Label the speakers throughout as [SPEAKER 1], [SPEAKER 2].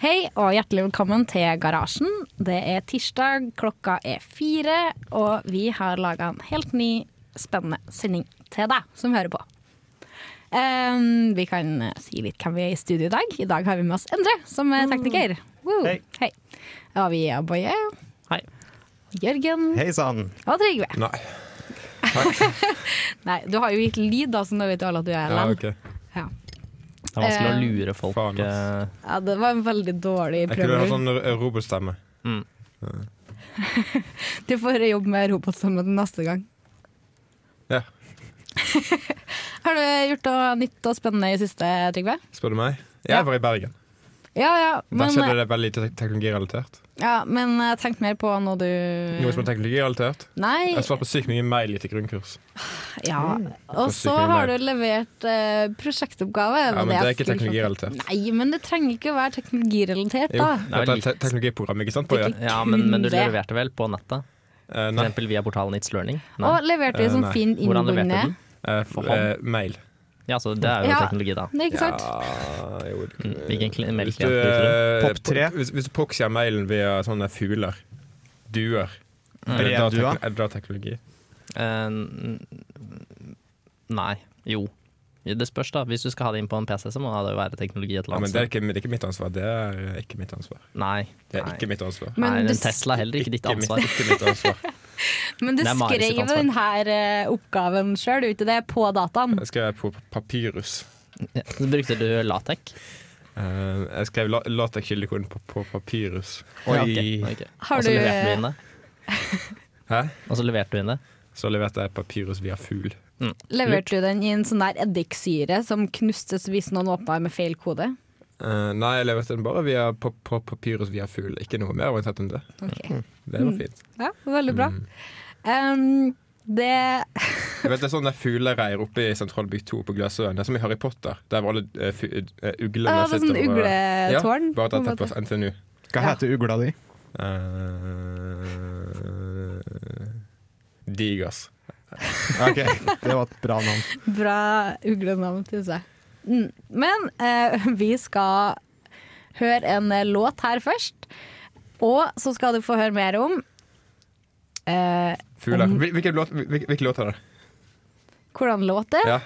[SPEAKER 1] Hei og hjertelig velkommen til Garasjen. Det er tirsdag, klokka er fire, og vi har laga en helt ny, spennende sending til deg som hører på. Ehm, vi kan si litt hvem vi er i studio i dag. I dag har vi med oss Endre, som er tekniker. Woo.
[SPEAKER 2] Hei.
[SPEAKER 1] Hei. Og vi er Boje,
[SPEAKER 2] Hei.
[SPEAKER 1] Jørgen
[SPEAKER 2] Hei sann.
[SPEAKER 1] og Trygve.
[SPEAKER 3] Nei.
[SPEAKER 1] Nei, du har jo gitt lyd, da, så nå vet jo alle at du er
[SPEAKER 3] Ja,
[SPEAKER 1] Erlend.
[SPEAKER 3] ok.
[SPEAKER 1] Ja.
[SPEAKER 2] Det er vanskelig
[SPEAKER 1] Eh,
[SPEAKER 2] å lure folk.
[SPEAKER 3] Faen, ass.
[SPEAKER 2] eh,
[SPEAKER 1] ja, det var en veldig dårlig
[SPEAKER 3] Er ikke du har
[SPEAKER 1] prøve.
[SPEAKER 3] sånn ro- robotstemme?
[SPEAKER 2] mm.
[SPEAKER 1] Du får jobbe med robotstemme neste gang.
[SPEAKER 3] Ja,
[SPEAKER 1] Har du gjort noe nytt og spennende i siste, Trygve?
[SPEAKER 3] spør du meg?
[SPEAKER 1] Ja.
[SPEAKER 3] Jeg var i Bergen.
[SPEAKER 1] Ja, ja,
[SPEAKER 3] Der
[SPEAKER 1] men, eh,
[SPEAKER 3] skjedde det veldig lite tek- teknologirelatert.
[SPEAKER 1] ja, men eh, tenk mer på noe du
[SPEAKER 3] Noe som er teknologirelatert.
[SPEAKER 1] Nei,
[SPEAKER 3] Jeg Mm. svarte på sykt mye mail i til grunnkurs.
[SPEAKER 1] ja. Og så
[SPEAKER 3] mye
[SPEAKER 1] har du
[SPEAKER 3] mer.
[SPEAKER 1] levert eh, prosjektoppgave.
[SPEAKER 3] Ja, men det er ikke
[SPEAKER 1] skulle-
[SPEAKER 3] teknologirelatert.
[SPEAKER 1] Nei, men det trenger ikke å være teknologirelatert,
[SPEAKER 3] Jo,
[SPEAKER 1] da.
[SPEAKER 3] dette er et te- teknologiprogram, ikke sant? Boje?
[SPEAKER 1] Teknik-
[SPEAKER 2] Ja, men, men du
[SPEAKER 1] Kun det.
[SPEAKER 2] leverte vel på nettet?
[SPEAKER 3] Eh,
[SPEAKER 2] For
[SPEAKER 3] nei.
[SPEAKER 2] eksempel via portalen It's Learning? Nei.
[SPEAKER 1] Og leverte
[SPEAKER 3] Eh,
[SPEAKER 1] jo som
[SPEAKER 3] nei.
[SPEAKER 1] fin
[SPEAKER 2] Hvordan leverte du den?
[SPEAKER 1] innbundet.
[SPEAKER 3] Eh, f- eh, mail.
[SPEAKER 2] Ja, så det er jo
[SPEAKER 1] Ja.
[SPEAKER 2] teknologi, da.
[SPEAKER 1] Nei, ikke sant?
[SPEAKER 3] Ja, jo, du-
[SPEAKER 2] Mm. Hvilken kli-
[SPEAKER 3] Hvis du,
[SPEAKER 2] mailklient bruker du?
[SPEAKER 3] eh,
[SPEAKER 4] Pop tre?
[SPEAKER 3] Hvis, hvis du proxyer mailen via sånne fugler, duer,
[SPEAKER 2] Mm.
[SPEAKER 3] er det da
[SPEAKER 4] Brevdua.
[SPEAKER 3] tek- er det da teknologi?
[SPEAKER 2] Eh, n- Nei. Jo. Det spørs, da. Hvis du skal ha det inn på en PC, så må det jo være teknologi et
[SPEAKER 3] Ja,
[SPEAKER 2] eller
[SPEAKER 3] men
[SPEAKER 2] annet
[SPEAKER 3] det er,
[SPEAKER 2] sted.
[SPEAKER 3] ikke, det er ikke mitt ansvar. Det er eh, ikke mitt ansvar.
[SPEAKER 2] Nei.
[SPEAKER 3] Det er
[SPEAKER 2] nei.
[SPEAKER 3] ikke mitt ansvar.
[SPEAKER 1] Men
[SPEAKER 2] Nei,
[SPEAKER 1] du
[SPEAKER 2] men
[SPEAKER 1] s-
[SPEAKER 2] Tesla er heller ikke ditt
[SPEAKER 3] Ikke mitt-
[SPEAKER 2] ansvar.
[SPEAKER 3] Ikke mitt ansvar.
[SPEAKER 1] Men du
[SPEAKER 2] Det er Maris sitt
[SPEAKER 1] skrev
[SPEAKER 2] ansvar.
[SPEAKER 1] denne eh, oppgaven sjøl, du ikke det? På dataen.
[SPEAKER 3] Jeg skrev på papyrus.
[SPEAKER 2] Ja. Så Brukte du latek?
[SPEAKER 3] Eh, jeg skrev la- latex-kildekoden på, på papyrus.
[SPEAKER 2] Ja, ok, ok.
[SPEAKER 1] Har
[SPEAKER 3] altså,
[SPEAKER 2] Og så
[SPEAKER 1] du-
[SPEAKER 2] leverte du inn det?
[SPEAKER 3] Hæ?
[SPEAKER 2] Og så leverte du inn det?
[SPEAKER 3] Så leverte jeg papyrus via fugl.
[SPEAKER 1] Leverte du den i en sånn der eddiksyre som knustes hvis noen åpna med feil kode?
[SPEAKER 3] Eh, nei, jeg leverte den bare via pa pa papyrus via fugl. Ikke noe mer orientert enn det.
[SPEAKER 1] Ok.
[SPEAKER 3] Det
[SPEAKER 1] Mm.
[SPEAKER 3] var fint.
[SPEAKER 1] Ja, veldig bra.
[SPEAKER 3] Mm.
[SPEAKER 1] Um, det
[SPEAKER 3] Jeg vet, det er sånne fuglereir oppe i Sentralbygg 2 på Gløshaugen. Det er som i Harry Potter, der hvor alle eh, fu- eh, uglene
[SPEAKER 1] Ja, det er sånn
[SPEAKER 3] og-
[SPEAKER 1] ugletårn,
[SPEAKER 3] Ja, bare at
[SPEAKER 1] på en
[SPEAKER 3] det er tett på NTNU.
[SPEAKER 4] Hva
[SPEAKER 1] Ja.
[SPEAKER 4] heter ugla di?
[SPEAKER 3] Eh, Digas.
[SPEAKER 4] Ok, Det var et bra navn.
[SPEAKER 1] Bra uglenavn til seg. Mm. Men eh, vi skal høre en eh, låt her først, og så skal du få høre mer om eh,
[SPEAKER 3] Fugler. Hvil- Hvilken låt, hvil- hvilken låt er det?
[SPEAKER 1] hvordan låt det er.
[SPEAKER 3] Ja.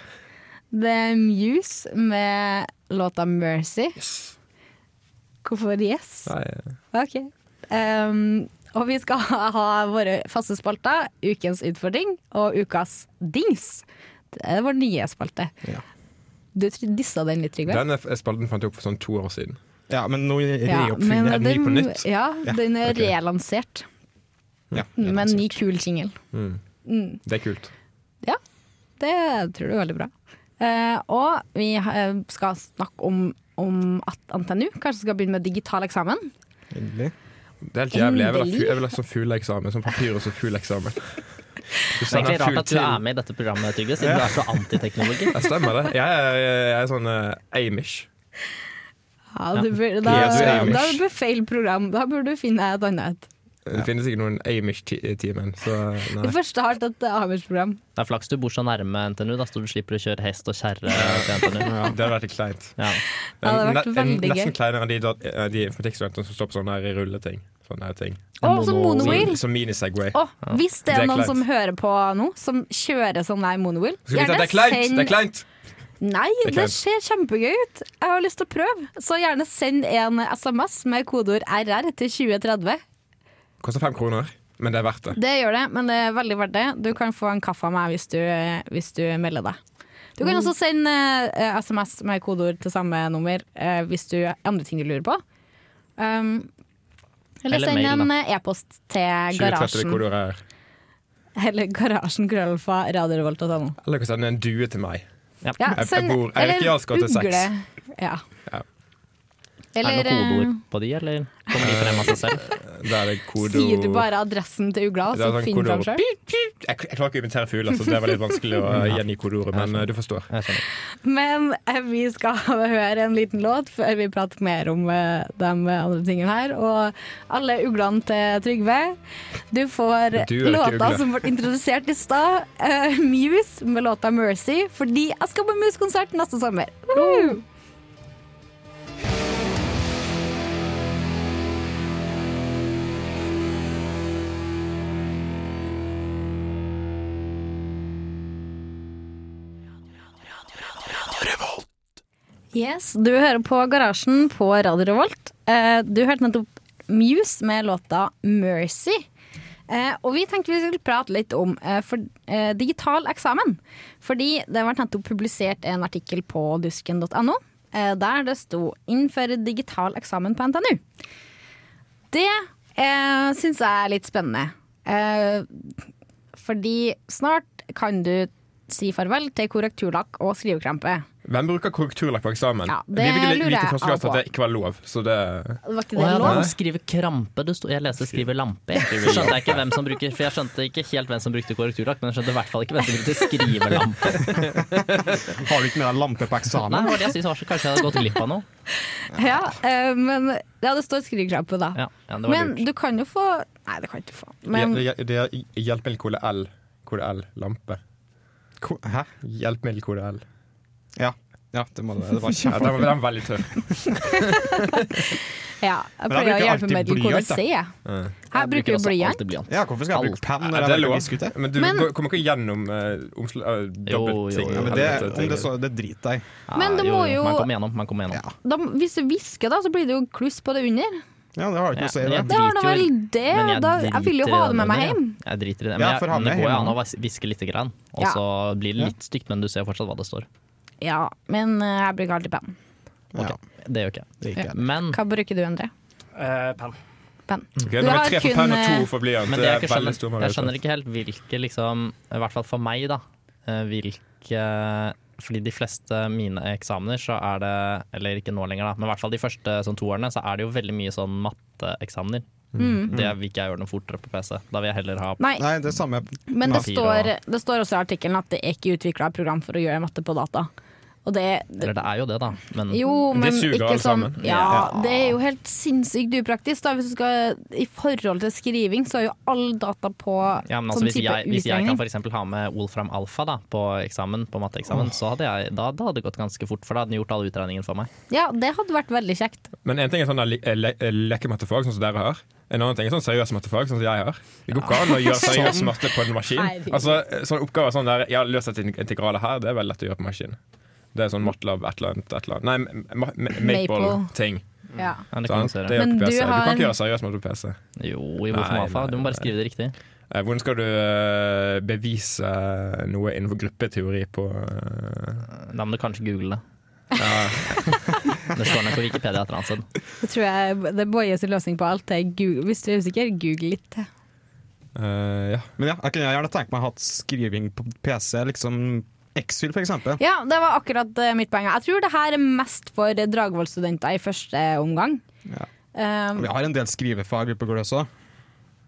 [SPEAKER 1] Det er Muse med låta 'Mercy'. Hvorfor yes?
[SPEAKER 3] Nei, eh,
[SPEAKER 1] Ok. Ehm, og vi skal ha våre faste spalter, ukens utfordring og ukas dings. Det er vår nye spalte.
[SPEAKER 4] Ja.
[SPEAKER 1] Du tr- dissa den litt, Trygve.
[SPEAKER 3] Den er- spalten fant jeg opp for sånn to år siden.
[SPEAKER 4] Ja, men nå
[SPEAKER 1] men
[SPEAKER 4] reoppfinner jeg den ny
[SPEAKER 1] den-
[SPEAKER 4] på nytt.
[SPEAKER 1] Ja,
[SPEAKER 4] Ja,
[SPEAKER 1] den er
[SPEAKER 3] ok.
[SPEAKER 1] relansert
[SPEAKER 4] Ja.
[SPEAKER 1] med en ny, kul jingle.
[SPEAKER 3] Mm.
[SPEAKER 1] Mm.
[SPEAKER 3] Det er kult.
[SPEAKER 1] Ja, det tror du er veldig bra. Eh, og vi eh, skal snakke om, om at NTNU kanskje skal begynne med digital eksamen.
[SPEAKER 4] Endelig.
[SPEAKER 3] Det er helt jævlig. Jeg vil ha,
[SPEAKER 1] Endelig.
[SPEAKER 3] fu- jeg vil ha sånn fugleeksamen. Sånn papyrus og fugleeksamen. Du
[SPEAKER 2] Det er
[SPEAKER 3] sender
[SPEAKER 2] egentlig
[SPEAKER 3] fugl
[SPEAKER 2] rart at du
[SPEAKER 3] til-
[SPEAKER 2] er med i dette programmet, Trygve, siden du er så antiteknologi.
[SPEAKER 3] Ja, stemmer det. Jeg er, jeg er sånn eh, Amish.
[SPEAKER 1] Ja, du burde, da,
[SPEAKER 3] Yes,
[SPEAKER 1] da,
[SPEAKER 3] Amish.
[SPEAKER 1] burde du feil program. Da burde du finne et annet.
[SPEAKER 3] Det finnes ikke noen Amish-timen, så eh,
[SPEAKER 1] Det
[SPEAKER 3] nei.
[SPEAKER 1] første har tatt Amers-program.
[SPEAKER 2] Det er flaks du bor så nærme NTNU, da, så du slipper å kjøre hest og kjerre til NTNU.
[SPEAKER 3] Ja, det hadde vært litt kleint.
[SPEAKER 2] Ja.
[SPEAKER 3] Det er
[SPEAKER 1] Ja, det hadde vært
[SPEAKER 3] ne- en-
[SPEAKER 1] veldig gøy.
[SPEAKER 3] Nesten kleinere enn de, dat- eh, de informatikkstudentene som står på sånne her rulleting. Sånne her ting.
[SPEAKER 1] Å, sånn monowheel!
[SPEAKER 3] Som, som mini-Segway.
[SPEAKER 1] Å, hvis det
[SPEAKER 3] Det
[SPEAKER 1] er
[SPEAKER 3] er
[SPEAKER 1] noen
[SPEAKER 3] kleint.
[SPEAKER 1] som hører på nå, som kjører sånn der monowheel
[SPEAKER 3] Skal vi ta- Det er kleint! Det er kleint!
[SPEAKER 1] Nei,
[SPEAKER 3] er
[SPEAKER 1] det
[SPEAKER 3] kleint.
[SPEAKER 1] ser kjempegøy ut. Jeg har lyst til å prøve. Så gjerne send en SMS med kodeord RR til 2030.
[SPEAKER 3] Koster fem kroner, men det er verdt det.
[SPEAKER 1] Det gjør det, men det er veldig verdt det. Du kan få en kaffe av meg hvis du, hvis du melder deg. Du
[SPEAKER 3] Mm.
[SPEAKER 1] kan også sende eh, SMS med kodeord til samme nummer eh, hvis du har andre ting du lurer på. Um, eller,
[SPEAKER 2] Eller
[SPEAKER 1] send
[SPEAKER 2] mail,
[SPEAKER 1] en eh, e-post til
[SPEAKER 3] 2030
[SPEAKER 1] garasjen.
[SPEAKER 3] kodeord er
[SPEAKER 1] Eller garasjen krøllalfa radiorevolt.no.
[SPEAKER 3] Eller kan sende en due til meg.
[SPEAKER 2] Ja.
[SPEAKER 3] Jeg- jeg bor- jeg er ikke i Asker til seks.
[SPEAKER 1] Ja.
[SPEAKER 3] Ja.
[SPEAKER 2] Er
[SPEAKER 1] Eller
[SPEAKER 2] det noen
[SPEAKER 1] eh,
[SPEAKER 2] kodeord på de, eller kommer de frem av seg selv?
[SPEAKER 3] Der er det kodeord
[SPEAKER 1] sier du bare adressen til ugla,
[SPEAKER 3] Det
[SPEAKER 1] så
[SPEAKER 3] er sånn
[SPEAKER 1] finn fram
[SPEAKER 3] kodeord.
[SPEAKER 1] sjøl.
[SPEAKER 3] Jeg, jeg klarer ikke å imitere fugler, så det var litt vanskelig å eh, gjengi kodeordet, men eh, du forstår.
[SPEAKER 2] Jeg skjønner.
[SPEAKER 1] Men eh, vi skal høre en liten låt før vi prater mer om eh, de andre tingene her. Og alle uglene til Trygve. Du får
[SPEAKER 3] Du er ikke
[SPEAKER 1] låta
[SPEAKER 3] ugle.
[SPEAKER 1] som ble introdusert i stad. eh, Muse med låta 'Mercy', fordi jeg skal på Muse-konsert neste sommer. Woo! Yes, Du hører på Garasjen på Radio Revolt. Eh, Du hørte nettopp Muse med låta 'Mercy'. Eh, Og vi tenkte vi skulle prate litt om eh, for, eh, digital eksamen. Fordi det ble nettopp publisert en artikkel på dusken.no eh, der det sto 'Innføre digital eksamen på NTNU'. Det eh, syns jeg er litt spennende. Eh, fordi snart kan du si farvel til korrekturlakk og skrivekrampe.
[SPEAKER 3] Hvem bruker korrekturlakk på eksamen?
[SPEAKER 1] Ja, det
[SPEAKER 3] Vi ville
[SPEAKER 1] lurer
[SPEAKER 3] vite i
[SPEAKER 1] jeg
[SPEAKER 3] første klasse
[SPEAKER 1] av på.
[SPEAKER 3] at det ikke var lov, så det
[SPEAKER 1] Det var ikke
[SPEAKER 2] Å
[SPEAKER 1] det
[SPEAKER 2] ja,
[SPEAKER 1] lov?
[SPEAKER 2] det skriver krampe. Det sto, jeg leste 'skrive lampe'. Jeg skjønte jeg ikke hvem som bruker For jeg skjønte ikke helt hvem som brukte korrekturlakk, men jeg skjønte i hvert fall ikke hvem som brukte skrivelampe.
[SPEAKER 4] Har du ikke med deg lampe på
[SPEAKER 2] Nei,
[SPEAKER 4] eksamen?
[SPEAKER 2] det var det jeg syntes var så kanskje jeg hadde gått glipp av noe.
[SPEAKER 1] Ja, eh, men Ja, det står skrivekrampe, da.
[SPEAKER 2] Ja, ja, det var
[SPEAKER 1] men
[SPEAKER 2] lurt.
[SPEAKER 1] du kan jo få Nei, det kan du ikke få. Men
[SPEAKER 3] Hjel- hjel- Det er hjelpemiddelkode L. Kode L. Lampe.
[SPEAKER 4] Ko- Hæ?
[SPEAKER 3] Hjelpemiddelkode L.
[SPEAKER 4] Ja. ja, det må det være. Det var
[SPEAKER 3] Ja, den var,
[SPEAKER 4] kjempe...
[SPEAKER 3] den var veldig tøff.
[SPEAKER 1] ja, jeg pleier å
[SPEAKER 4] Men da bruker jeg
[SPEAKER 1] hjelpe
[SPEAKER 4] alltid
[SPEAKER 1] med til
[SPEAKER 4] blyant,
[SPEAKER 1] kode
[SPEAKER 4] da.
[SPEAKER 1] C. jeg. Her bruker du
[SPEAKER 2] også
[SPEAKER 1] blyant.
[SPEAKER 2] alltid blyant.
[SPEAKER 4] Ja, hvorfor skal jeg bruke penn
[SPEAKER 3] Ja,
[SPEAKER 4] når
[SPEAKER 3] det er
[SPEAKER 4] jeg
[SPEAKER 3] lov.
[SPEAKER 4] velger diskute?
[SPEAKER 3] Men du
[SPEAKER 1] Men-
[SPEAKER 3] går- kommer ikke gjennom uh, omsl eh,
[SPEAKER 2] Jo,
[SPEAKER 3] dobbeltting.
[SPEAKER 2] jo, jo.
[SPEAKER 4] Ja, men det,
[SPEAKER 3] Helvete,
[SPEAKER 4] om
[SPEAKER 3] ting.
[SPEAKER 4] det, så, det driter jeg i.
[SPEAKER 1] Men du må jo-
[SPEAKER 2] Man kommer gjennom. Man kommer gjennom.
[SPEAKER 4] Ja.
[SPEAKER 1] Da, hvis du hvisker, da, så blir det jo kluss på det under.
[SPEAKER 4] Ja, det har jeg ikke noe å si.
[SPEAKER 2] Ja,
[SPEAKER 4] det.
[SPEAKER 1] Det har da
[SPEAKER 2] driter
[SPEAKER 1] vel
[SPEAKER 2] jo i-
[SPEAKER 1] det.
[SPEAKER 2] Men
[SPEAKER 1] Da, jeg vil jo
[SPEAKER 2] driter i
[SPEAKER 1] ha det med meg
[SPEAKER 2] der, ja.
[SPEAKER 1] hjem.
[SPEAKER 2] Jeg driter i det. Men,
[SPEAKER 4] Ja,
[SPEAKER 2] jeg,
[SPEAKER 4] for han
[SPEAKER 2] men det
[SPEAKER 4] er
[SPEAKER 2] går jo
[SPEAKER 4] hjemme.
[SPEAKER 2] an å vis- hviske lite grann, og
[SPEAKER 1] Ja.
[SPEAKER 2] så blir det litt stygt, men du ser fortsatt hva det står.
[SPEAKER 1] Ja, men eh, jeg bruker alltid penn.
[SPEAKER 4] Ja,
[SPEAKER 2] Det gjør ikke jeg.
[SPEAKER 4] det gikk jeg.
[SPEAKER 2] Men,
[SPEAKER 1] Hva bruker du, Endre?
[SPEAKER 5] Eh, penn.
[SPEAKER 1] Penn.
[SPEAKER 3] Ok,
[SPEAKER 1] Du
[SPEAKER 3] nå er
[SPEAKER 1] har
[SPEAKER 3] vi tre for
[SPEAKER 1] kun,
[SPEAKER 3] penn og
[SPEAKER 1] eh,
[SPEAKER 3] to for blyant.
[SPEAKER 2] men
[SPEAKER 3] Det
[SPEAKER 2] det
[SPEAKER 3] er
[SPEAKER 2] jeg, ikke
[SPEAKER 3] veldig stor
[SPEAKER 2] skjønner, jeg skjønner ikke helt hvilke, liksom, i hvert fall for meg, da, eh, hvilke fordi de fleste mine eksamener så er det, eller ikke nå lenger da, men i hvert fall de første sånn to årene, så er det jo veldig mye sånn matteeksamener. Det vil ikke jeg gjøre noe fortere på PC. Da vil jeg heller ha
[SPEAKER 1] Mm. Nei,
[SPEAKER 4] Nei, det er samme
[SPEAKER 1] men det
[SPEAKER 2] Nei.
[SPEAKER 1] står, det står også i artikkelen at det er ikke utvikla program for å gjøre matte på data. Og det,
[SPEAKER 2] Eller det er jo det, da, men
[SPEAKER 1] Jo,
[SPEAKER 3] Det
[SPEAKER 1] men
[SPEAKER 3] suger
[SPEAKER 1] ikke
[SPEAKER 3] alle
[SPEAKER 1] sånn
[SPEAKER 3] sammen.
[SPEAKER 1] ja,
[SPEAKER 4] Ja.
[SPEAKER 1] Det er jo helt sinnssykt upraktisk. Da. Hvis du skal, I forhold til skriving, så er jo all data på
[SPEAKER 2] Ja, men altså,
[SPEAKER 1] sånn
[SPEAKER 2] hvis,
[SPEAKER 1] type
[SPEAKER 2] jeg, hvis jeg kan
[SPEAKER 1] utregning.
[SPEAKER 2] for eksempel ha med Wolfram Alpha da, på eksamen, på matteeksamen, så hadde jeg, da, da hadde det gått ganske fort, for da hadde den gjort alle utregningene for meg.
[SPEAKER 1] Ja, det hadde vært veldig kjekt.
[SPEAKER 3] Men en ting er sånn le le lekemattefag, sånn som dere har. En annen ting er sånn seriøs mattefag, sånn som jeg har. Det går ikke an å gjøre
[SPEAKER 1] Sånn.
[SPEAKER 3] seriøs matte på en maskin.
[SPEAKER 1] Herregud.
[SPEAKER 3] Altså, sånne oppgaver sånn der Ja, løs et integrale her, det er veldig lett å gjøre på maskin. Det er sånn matlab et eller annet, et eller annet. Nei, ma- ma- maple-ting.
[SPEAKER 1] Ja.
[SPEAKER 2] Ja, det kan
[SPEAKER 3] sant?
[SPEAKER 2] man se
[SPEAKER 3] Det
[SPEAKER 2] det.
[SPEAKER 3] gjør
[SPEAKER 1] Men
[SPEAKER 3] du på
[SPEAKER 1] du
[SPEAKER 3] PC. Du
[SPEAKER 1] har-
[SPEAKER 3] kan ikke gjøre seriøs matte på PC.
[SPEAKER 2] Jo, i Wolfram
[SPEAKER 3] Nei,
[SPEAKER 2] Alpha.
[SPEAKER 3] nei,
[SPEAKER 2] Du må bare
[SPEAKER 3] nei.
[SPEAKER 2] skrive det riktig.
[SPEAKER 3] Eh, Hvordan skal du eh, bevise noe innenfor gruppeteori på eh,
[SPEAKER 2] Da må du kanskje google det. det står nok på Wikipedia et eller annet sted.
[SPEAKER 1] Det tror jeg det er Bojes løsning på alt. er Google. Hvis du er usikker, google litt.
[SPEAKER 3] eh, Ja.
[SPEAKER 4] Men ja, jeg kunne gjerne tenkt meg å ha hatt skriving på PC, liksom X-Fil for eksempel.
[SPEAKER 1] Ja, det var akkurat eh, mitt poeng. Jeg tror det her er mest for eh, Dragvoll-studenter i første omgang.
[SPEAKER 4] Ja.
[SPEAKER 1] Um,
[SPEAKER 4] Vi har en del skrivefag på Gløs òg.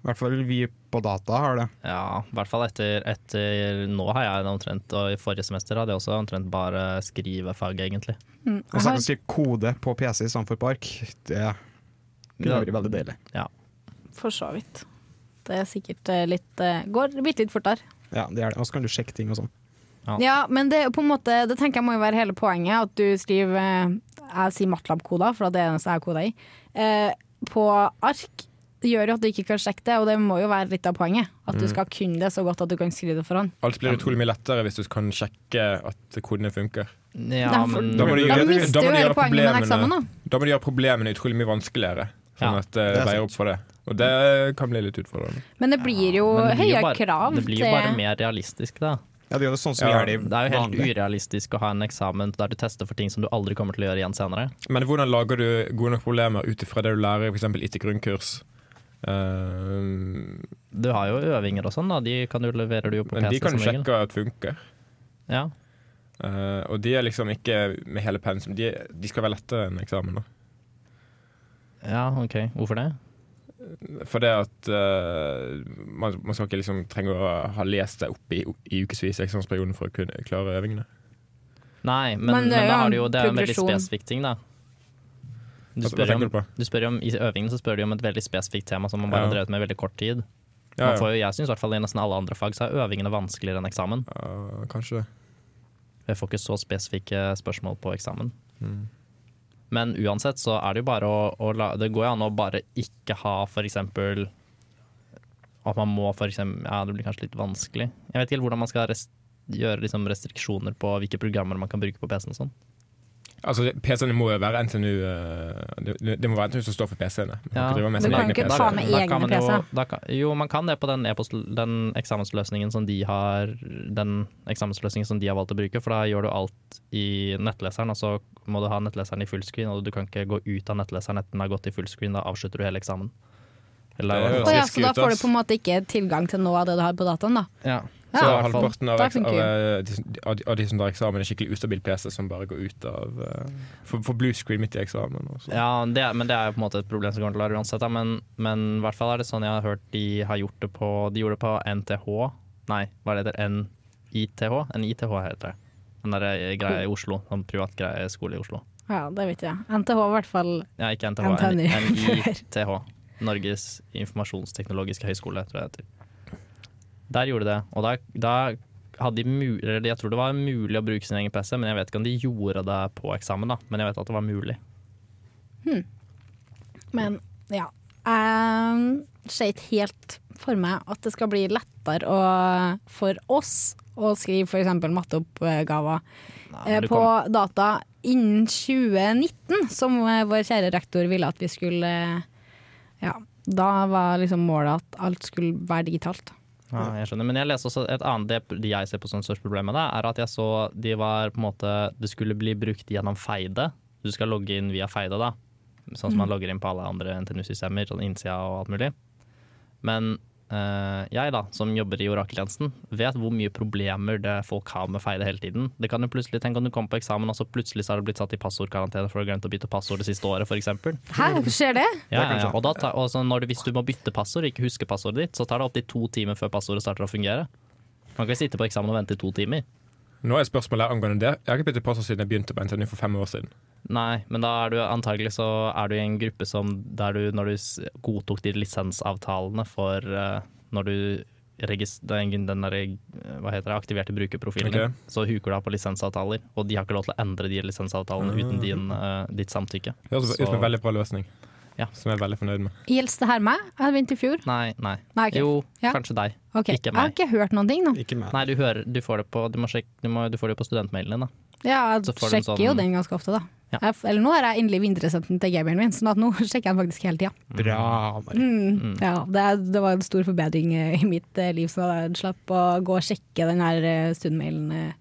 [SPEAKER 4] I hvert fall vi på data har det.
[SPEAKER 2] Ja, i hvert fall etter, etter Nå har jeg det omtrent, og i forrige semester hadde jeg også omtrent bare skrivefag, egentlig.
[SPEAKER 1] mm,
[SPEAKER 4] Og så kan du skrive kode på PC istedenfor på ark. Det kunne vært veldig deilig.
[SPEAKER 2] Ja.
[SPEAKER 1] For så vidt. Det er sikkert eh, litt eh, Går bitte litt fortere.
[SPEAKER 4] Ja, det er det. Og så kan du sjekke ting og sånn.
[SPEAKER 2] Ja.
[SPEAKER 1] Ja, men det, er jo på en måte, det tenker jeg må jo være hele poenget. At du skriver eh, Jeg sier Matlab-koder, for det er det eneste jeg har koder i. Eh, på ark gjør jo at du ikke kan sjekke det, og det må jo være litt av poenget. At
[SPEAKER 2] Mm.
[SPEAKER 1] du skal kunne det så godt at du kan skrive det for hånd.
[SPEAKER 3] Alt blir utrolig mye lettere hvis du kan sjekke at kodene funker.
[SPEAKER 2] Mm. ja,
[SPEAKER 1] Derfor-
[SPEAKER 2] men
[SPEAKER 3] Da må du
[SPEAKER 1] Da
[SPEAKER 3] gjøre-
[SPEAKER 1] mister
[SPEAKER 3] da
[SPEAKER 1] du
[SPEAKER 3] må du
[SPEAKER 1] hele
[SPEAKER 3] gjøre
[SPEAKER 1] poenget med den
[SPEAKER 3] problemene.
[SPEAKER 1] eksamen, da.
[SPEAKER 3] Da må de gjøre problemene utrolig mye vanskeligere. Sånn
[SPEAKER 2] Ja,
[SPEAKER 3] at det
[SPEAKER 4] det er
[SPEAKER 3] veier
[SPEAKER 4] sant.
[SPEAKER 3] opp for det. Og det kan bli litt utfordrende.
[SPEAKER 1] Men det blir jo
[SPEAKER 2] men det blir jo
[SPEAKER 1] høyere
[SPEAKER 2] bare-
[SPEAKER 1] krav
[SPEAKER 2] Det blir jo bare mer realistisk, da.
[SPEAKER 4] Ja, det er jo sånn som vi
[SPEAKER 3] Ja,
[SPEAKER 4] gjør det i
[SPEAKER 2] Det er jo helt
[SPEAKER 4] vanlig.
[SPEAKER 2] urealistisk å ha en eksamen der du tester for ting som du aldri kommer til å gjøre igjen senere.
[SPEAKER 3] Men hvordan lager du gode nok problemer ut ifra det du lærer f.eks. etter grunnkurs? Eh,
[SPEAKER 2] Du har jo øvinger og sånn, da. De kan du leverer du jo på
[SPEAKER 3] men de
[SPEAKER 2] PC
[SPEAKER 3] kan
[SPEAKER 2] som
[SPEAKER 3] du
[SPEAKER 2] regel.
[SPEAKER 3] sjekke at funker.
[SPEAKER 2] Ja.
[SPEAKER 3] Eh, og de er liksom ikke med hele pensum. De, de skal være lettere enn eksamen. Da.
[SPEAKER 2] ja, OK. Hvorfor det?
[SPEAKER 3] For det at eh, man, man skal ikke liksom trenge å ha lest det opp i, i ukevis i eksamensperioden for å kunne klare øvingene.
[SPEAKER 2] Nei, men,
[SPEAKER 1] Men
[SPEAKER 2] men,
[SPEAKER 1] det er jo
[SPEAKER 2] da har
[SPEAKER 1] en
[SPEAKER 2] du jo Det er jo en veldig
[SPEAKER 1] progresjon.
[SPEAKER 2] spesifikk ting, da. Du
[SPEAKER 3] Hva- hva
[SPEAKER 2] spør,
[SPEAKER 3] tenker
[SPEAKER 2] om,
[SPEAKER 3] du Altså, på?
[SPEAKER 2] du spør jo om, I øvingene så spør du om et veldig spesifikt tema som man bare
[SPEAKER 3] Ja.
[SPEAKER 2] har drevet med i veldig kort tid.
[SPEAKER 3] Ja,
[SPEAKER 2] Man
[SPEAKER 3] ja.
[SPEAKER 2] får jo, jeg syns i hvert fall i nesten alle andre fag så er øvingene vanskeligere enn eksamen.
[SPEAKER 3] Ja, kanskje det.
[SPEAKER 2] Jeg får ikke så spesifikke spørsmål på eksamen. Men uansett så er det jo bare å, å la Det går jo an å bare ikke ha for eksempel At man må for eksempel Ja, det blir kanskje litt vanskelig. Jeg vet ikke helt hvordan man skal rest, gjøre liksom restriksjoner på hvilke programmer man kan bruke på PC-en og sånn.
[SPEAKER 3] Altså, PC-ene må jo være NTNU eh, det, det må være NTNU som står for PC-ene. Man kan
[SPEAKER 2] Ja.
[SPEAKER 3] ikke drive med
[SPEAKER 1] Du
[SPEAKER 3] sine
[SPEAKER 1] kan
[SPEAKER 3] egne
[SPEAKER 1] ikke
[SPEAKER 3] PC-er.
[SPEAKER 1] ta med
[SPEAKER 2] Da
[SPEAKER 1] egne
[SPEAKER 2] kan man jo-
[SPEAKER 1] PC.
[SPEAKER 2] da kan- Jo, man kan det på den, e-post, den eksamensløsningen som de har Den eksamensløsningen som de har valgt å bruke, for da gjør du alt i nettleseren, og så må du ha nettleseren i fullscreen, og du kan ikke gå ut av nettleseren etter den har gått i fullscreen, da avslutter du hele eksamen.
[SPEAKER 3] Det
[SPEAKER 2] Eller,
[SPEAKER 3] høres-
[SPEAKER 1] Å ja,
[SPEAKER 3] frisk
[SPEAKER 1] så da
[SPEAKER 3] ut,
[SPEAKER 1] får
[SPEAKER 3] ass.
[SPEAKER 1] du på en måte ikke tilgang til noe av det du har på dataen, da.
[SPEAKER 2] ja.
[SPEAKER 1] Ja.
[SPEAKER 3] Så
[SPEAKER 2] i hvert fall-
[SPEAKER 3] halvparten av,
[SPEAKER 1] Da
[SPEAKER 3] eks- av,
[SPEAKER 1] funker
[SPEAKER 3] eh, de, som- av, de- av de som tar eksamen, er skikkelig ustabil PC som bare går ut av eh, Får får blue screen midt i eksamen. Og så.
[SPEAKER 2] Ja, det, er- men det er jo på en måte et problem som kommer til å være uansett. Da. Men, men i hvert fall er det sånn jeg har hørt de har gjort det på De gjorde det på NTH. Nei, hva er det heter NITH? NITH heter det. Den der eh, greia i Oslo. Sånn privat greie skole i Oslo.
[SPEAKER 1] Ja, det vet jeg. NTH i hvert fall.
[SPEAKER 2] Ja, ikke NTH,
[SPEAKER 1] NTNU.
[SPEAKER 2] NITH. Norges informasjonsteknologiske høgskole, tror jeg det heter. Der gjorde de det, og da, da hadde de mu- eller Jeg tror det var mulig å bruke sin egen PC, men jeg vet ikke om de gjorde det på eksamen, da. Men jeg vet at det var mulig.
[SPEAKER 1] Men ja. Jeg ser ikke helt for meg at det skal bli lettere å, for oss å skrive f.eks. matteoppgaver
[SPEAKER 2] Nei,
[SPEAKER 1] eh,
[SPEAKER 2] men du
[SPEAKER 1] på
[SPEAKER 2] kommer-
[SPEAKER 1] data innen 2019, som eh, vår kjære rektor ville at vi skulle eh, Ja, da var liksom målet at alt skulle være digitalt.
[SPEAKER 2] Ja, jeg skjønner. Men jeg leser også et annet det jeg ser på som størst problem med det, er at jeg så de var på en måte Det skulle bli brukt gjennom Feide. Du skal logge inn via Feide, da. Sånn som man logger inn på alle andre NTNU-systemer, sånn innsida og alt mulig. Men eh, jeg, da, som jobber i orakeltjenesten, vet hvor mye problemer det folk har med Feide hele tiden. Det kan jo plutselig, Tenk om du kommer på eksamen, og så plutselig så har du blitt satt i passordkarantene for å ha glemt å bytte passord det siste året, f.eks.
[SPEAKER 1] Hæ, skjer det?
[SPEAKER 2] Ja,
[SPEAKER 4] Det
[SPEAKER 2] ja,
[SPEAKER 4] kan
[SPEAKER 2] ja.
[SPEAKER 4] skje.
[SPEAKER 2] Og da tar, og så når du, hvis du må bytte passord, ikke huske passordet ditt, så tar det opptil to timer før passordet starter å fungere. Man kan ikke sitte på eksamen og vente i to timer.
[SPEAKER 3] Nå er spørsmålet angående det. Jeg har ikke byttet passord siden jeg begynte på NTNU for fem år siden.
[SPEAKER 2] Nei, men da er du antagelig så er du i en gruppe som der du, når du s- godtok de lisensavtalene for eh, når du regis- den, den der, eh, hva heter det, aktiverte brukerprofilen,
[SPEAKER 3] Ok.
[SPEAKER 2] din, så huker du av på lisensavtaler, og de har ikke lov til å endre de lisensavtalene uten din, eh, ditt samtykke.
[SPEAKER 3] Det høres ut som en
[SPEAKER 2] Så-
[SPEAKER 3] veldig bra løsning,
[SPEAKER 2] Ja.
[SPEAKER 3] som jeg er veldig fornøyd med.
[SPEAKER 1] Gjelder det her meg? Jeg begynte i fjor.
[SPEAKER 2] Nei, nei.
[SPEAKER 1] Nei, ok.
[SPEAKER 2] Jo,
[SPEAKER 1] Ja.
[SPEAKER 2] kanskje deg.
[SPEAKER 1] Ok,
[SPEAKER 2] Ikke
[SPEAKER 1] Jeg har
[SPEAKER 2] meg.
[SPEAKER 1] ikke hørt noen ting nå.
[SPEAKER 4] Ikke meg.
[SPEAKER 2] Nei, du, hører, du får det på, du må sjekke, du må, du får det på studentmailen din, da.
[SPEAKER 1] Ja,
[SPEAKER 2] Så
[SPEAKER 1] jeg
[SPEAKER 2] får du en
[SPEAKER 1] sjekker
[SPEAKER 2] sånn-
[SPEAKER 1] jo den ganske ofte, da.
[SPEAKER 2] Ja.
[SPEAKER 1] Jeg, f- eller nå har jeg endelig vinteresenten til gameren min, sånn at nå sjekker jeg den faktisk hele tida.
[SPEAKER 4] Bra, Mari.
[SPEAKER 1] Mm. Ja, det, er- det var en stor forbedring eh, i mitt eh, liv, så jeg slapp å gå og sjekke den her eh, stundmailen. eh.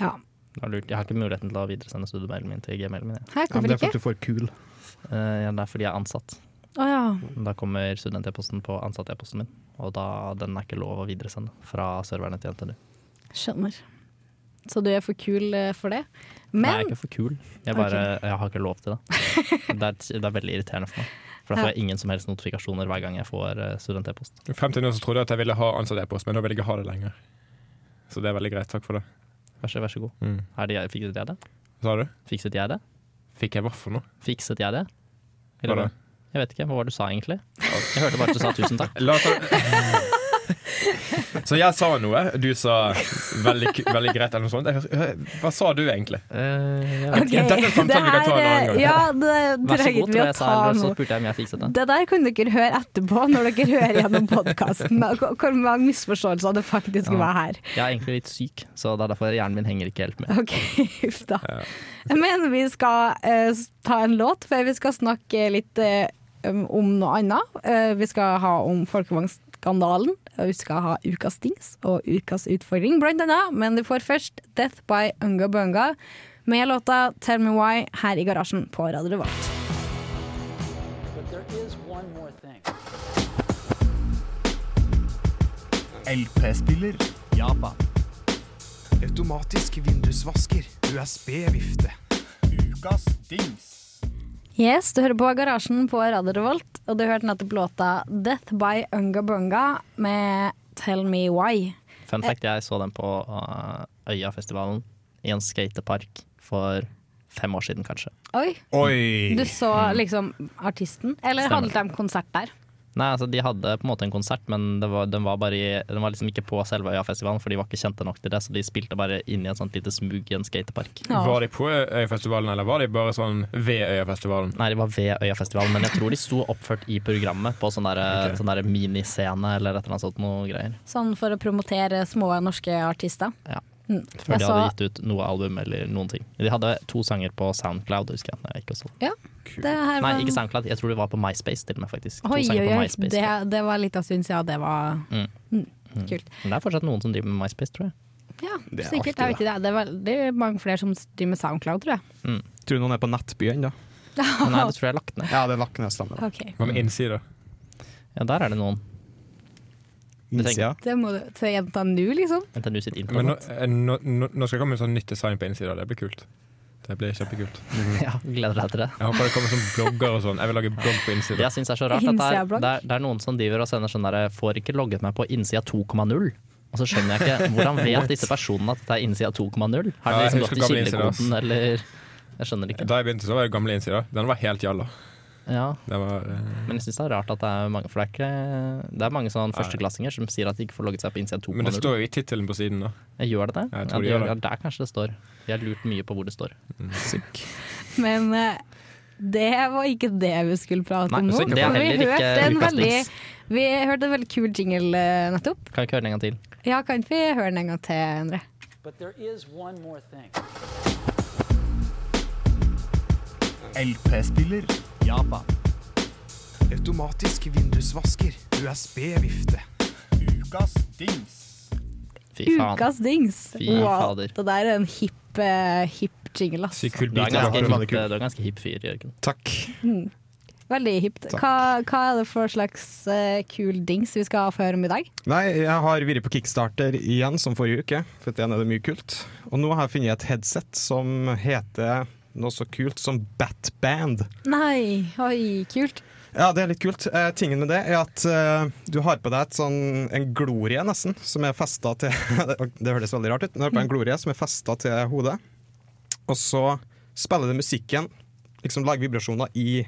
[SPEAKER 1] Ja,
[SPEAKER 2] Det var lurt. Jeg har ikke muligheten til å videresende studiemailen min til gmailen min. jeg.
[SPEAKER 1] her,
[SPEAKER 4] Ja, men det
[SPEAKER 1] hvorfor
[SPEAKER 4] er for at
[SPEAKER 1] ikke?
[SPEAKER 4] du får kul.
[SPEAKER 2] Eh, ja, det er fordi jeg er ansatt.
[SPEAKER 1] Å ja.
[SPEAKER 2] Da kommer student-e-posten på ansatt-e-posten min, og da, den er ikke lov å videresende fra serverne til NTNU.
[SPEAKER 1] Skjønner. Så du er for kul eh, for det.
[SPEAKER 2] Nei, jeg er
[SPEAKER 1] Men
[SPEAKER 2] ikke for kul. Jeg, bare, jeg har ikke lov til det. Det er, det er veldig irriterende for meg. For da får jeg ingen som helst notifikasjoner hver gang jeg får eh, student-e-post.
[SPEAKER 3] Frem til nå så trodde jeg at jeg ville ha ansatt e-post, men nå vil jeg ikke ha det lenger. Så det er veldig greit. Takk for det.
[SPEAKER 2] Vær så, vær så god.
[SPEAKER 3] Mm.
[SPEAKER 2] Er det jeg, fikset jeg det?
[SPEAKER 3] Hva sa du?
[SPEAKER 2] Fikset jeg det?
[SPEAKER 3] Fikk jeg hva for noe?
[SPEAKER 2] Fikset jeg det?
[SPEAKER 3] Hva da?
[SPEAKER 2] Jeg vet ikke. Hva var det du sa egentlig? Jeg hørte bare at du sa tusen takk.
[SPEAKER 3] La oss Så jeg sa noe, du sa veldig, ku- veldig greit eller noe sånt. Jeg hører- Hva sa du egentlig?
[SPEAKER 2] Eh, jeg vet
[SPEAKER 1] Ok,
[SPEAKER 2] ikke.
[SPEAKER 3] Dette er en samtale vi kan ta en annen
[SPEAKER 1] eh,
[SPEAKER 3] gang.
[SPEAKER 1] Ja, det
[SPEAKER 2] Vær så
[SPEAKER 1] trenger
[SPEAKER 2] god,
[SPEAKER 1] vi
[SPEAKER 2] tror
[SPEAKER 1] å
[SPEAKER 2] jeg sa,
[SPEAKER 1] ta
[SPEAKER 2] eller så
[SPEAKER 1] nå.
[SPEAKER 2] spurte jeg om jeg fikset det.
[SPEAKER 1] Det der kan dere høre etterpå, når dere hører gjennom podkasten hvor hvor mange misforståelser det faktisk
[SPEAKER 2] Ja.
[SPEAKER 1] var her.
[SPEAKER 2] Jeg er egentlig litt syk, så det er derfor hjernen min henger ikke helt med.
[SPEAKER 1] Ok, uff da. Men vi skal eh, s- ta en låt før vi skal snakke litt eh, um, om noe annet. Eh, vi skal ha om folkevognskandalen, og vi skal ha ukas dings og ukas utfordring, blant annet. Men du får først Death by Unga Bunga med låta Tell Me Why her i garasjen på Radio Revolt.
[SPEAKER 5] But there is one more thing.
[SPEAKER 6] LP-spiller,
[SPEAKER 2] Japan.
[SPEAKER 6] automatisk vindusvasker, USB-vifte. Ukas dings.
[SPEAKER 1] Yes, du hører på Garasjen på Radio Revolt, og du hørte nettopp låta Death by Unga Bunga med Tell Me Why.
[SPEAKER 2] Fun
[SPEAKER 1] Eh.
[SPEAKER 2] fact, jeg så den på uh, Øyafestivalen i en skatepark for fem år siden, kanskje.
[SPEAKER 1] Oi,
[SPEAKER 6] Oi!
[SPEAKER 1] Du så liksom artisten, eller
[SPEAKER 2] Stemmer.
[SPEAKER 1] hadde de konsert der?
[SPEAKER 2] Nei, altså De hadde på en måte en konsert, men det var, den, var bare i, den var liksom ikke på selve Øyafestivalen, for de var ikke kjente nok til det, så de spilte bare inn i et sånt lite smug i en skatepark.
[SPEAKER 1] Ja.
[SPEAKER 3] Var de på Øyafestivalen, eller var de bare sånn ved Øyafestivalen?
[SPEAKER 2] Nei, de var ved Øyafestivalen, men jeg tror de sto oppført i programmet på sånn der,
[SPEAKER 3] Ok.
[SPEAKER 2] sånn der miniscene eller et eller annet sånt noe greier.
[SPEAKER 1] Sånn for å promotere små norske artister.
[SPEAKER 2] Ja. før
[SPEAKER 1] Jeg
[SPEAKER 2] de
[SPEAKER 1] så,
[SPEAKER 2] hadde gitt ut noe album eller noen ting. De hadde to sanger på Soundcloud, husker jeg. Når jeg gikk og så.
[SPEAKER 1] det her
[SPEAKER 2] Nei,
[SPEAKER 1] var,
[SPEAKER 2] ikke Soundcloud, jeg tror det var på MySpace til og med, faktisk. To
[SPEAKER 1] Oi,
[SPEAKER 2] sanger
[SPEAKER 1] oi, oi.
[SPEAKER 2] på MySpace.
[SPEAKER 1] Det, det var litt av syns, ja. Det var
[SPEAKER 2] Mm.
[SPEAKER 1] Mm. Kult.
[SPEAKER 2] Men det er fortsatt noen som driver med MySpace, tror jeg.
[SPEAKER 1] Ja,
[SPEAKER 4] Det er
[SPEAKER 1] sikkert. Jeg
[SPEAKER 4] alltid
[SPEAKER 1] vet ikke det. Det er veldig mange flere som driver med SoundCloud, tror jeg.
[SPEAKER 4] Tror du noen er på Nettby ennå?
[SPEAKER 2] Men nei, det tror jeg er lagt ned.
[SPEAKER 4] Ja, det er lagt ned stemmer.
[SPEAKER 1] Ok,
[SPEAKER 3] Hva med innsider?
[SPEAKER 2] Ja, der er det noen.
[SPEAKER 4] Innsida.
[SPEAKER 1] Det må du til jenta nå, liksom.
[SPEAKER 2] NTNU sitt internett.
[SPEAKER 3] Men nå, eh, nå, nå nå skal det komme sånn nytt design på innsider. Det blir kult. Det blir kjempekult.
[SPEAKER 2] Ja, gleder deg til det.
[SPEAKER 3] Jeg håper det kommer sånn blogger og sånn. Jeg vil lage blogg på
[SPEAKER 2] Det
[SPEAKER 3] innsider.
[SPEAKER 2] jeg syns er så rart, at det er,
[SPEAKER 1] Innsida-blogg.
[SPEAKER 2] det, er, det er noen som driver og sender sånn derre Får ikke logget meg på innsida 2,0. Og så skjønner jeg ikke Hvordan vet disse personene at dette er innsida 2,0? Har
[SPEAKER 3] Ja,
[SPEAKER 2] de
[SPEAKER 3] jeg
[SPEAKER 2] liksom gått
[SPEAKER 3] husker
[SPEAKER 2] i
[SPEAKER 3] gamle Innsida, ass.
[SPEAKER 2] kildekoden, eller Jeg skjønner ikke.
[SPEAKER 3] Da jeg begynte, så var det gamle innsider. Den var helt jalla.
[SPEAKER 2] Ja,
[SPEAKER 3] Den var, eh,
[SPEAKER 2] men jeg syns det er rart at det er mange, for det er ikke Det er mange sånn førsteklassinger som sier at de ikke får logget seg på innsida
[SPEAKER 3] men det
[SPEAKER 2] 2,0.
[SPEAKER 3] står jo i tittelen på siden, da.
[SPEAKER 2] Jeg Gjør det det?
[SPEAKER 3] Jeg
[SPEAKER 2] Ja,
[SPEAKER 3] tror
[SPEAKER 2] det
[SPEAKER 3] de gjør
[SPEAKER 2] gjør, ja,
[SPEAKER 3] det.
[SPEAKER 2] der kanskje det står. De har lurt mye på hvor det står.
[SPEAKER 1] Men eh, det var ikke det vi skulle prate
[SPEAKER 2] Nei,
[SPEAKER 1] om nå.
[SPEAKER 2] så det er
[SPEAKER 1] for
[SPEAKER 2] heller
[SPEAKER 1] vi
[SPEAKER 2] ikke
[SPEAKER 1] hørte en
[SPEAKER 2] ukas
[SPEAKER 1] veldig
[SPEAKER 2] mix.
[SPEAKER 1] Vi hørte en veldig kul jingle eh, nettopp.
[SPEAKER 2] Kan vi ikke høre den en gang til?
[SPEAKER 1] Ja, kan ikke vi høre den en gang til, Endre?
[SPEAKER 5] But there is one more thing.
[SPEAKER 6] LP-spiller.
[SPEAKER 2] Ja, faen.
[SPEAKER 6] Automatisk vindusvasker. USB-vifte. Ukas dings.
[SPEAKER 2] Fy faen.
[SPEAKER 1] Ukas dings!
[SPEAKER 2] Fy fader.
[SPEAKER 1] det der er en hipp, eh, hipp jingle, ass.
[SPEAKER 3] Sykt kul
[SPEAKER 2] Du er
[SPEAKER 3] bit.
[SPEAKER 2] en ganske
[SPEAKER 4] det var
[SPEAKER 2] hipp,
[SPEAKER 4] kul.
[SPEAKER 2] du er en ganske hipp fyr, Jørgen.
[SPEAKER 4] Takk.
[SPEAKER 1] Veldig hipt.
[SPEAKER 4] Takk.
[SPEAKER 1] Hva, hva er det for slags eh, kul dings vi skal få høre om i dag?
[SPEAKER 4] Nei, jeg har vært på kickstarter igjen, som forrige uke. For igjen er det mye kult. Og nå har jeg funnet et headset som heter noe så kult som Batband.
[SPEAKER 1] Nei, oi, kult.
[SPEAKER 4] Ja, det er litt kult. Eh, tingen med det er at eh, du har på deg et sånn, en glorie, nesten, som er festa til Det det høres veldig rart ut, men du har på deg en glorie som er festa til hodet. Og så spiller du musikken, liksom lager vibrasjoner i,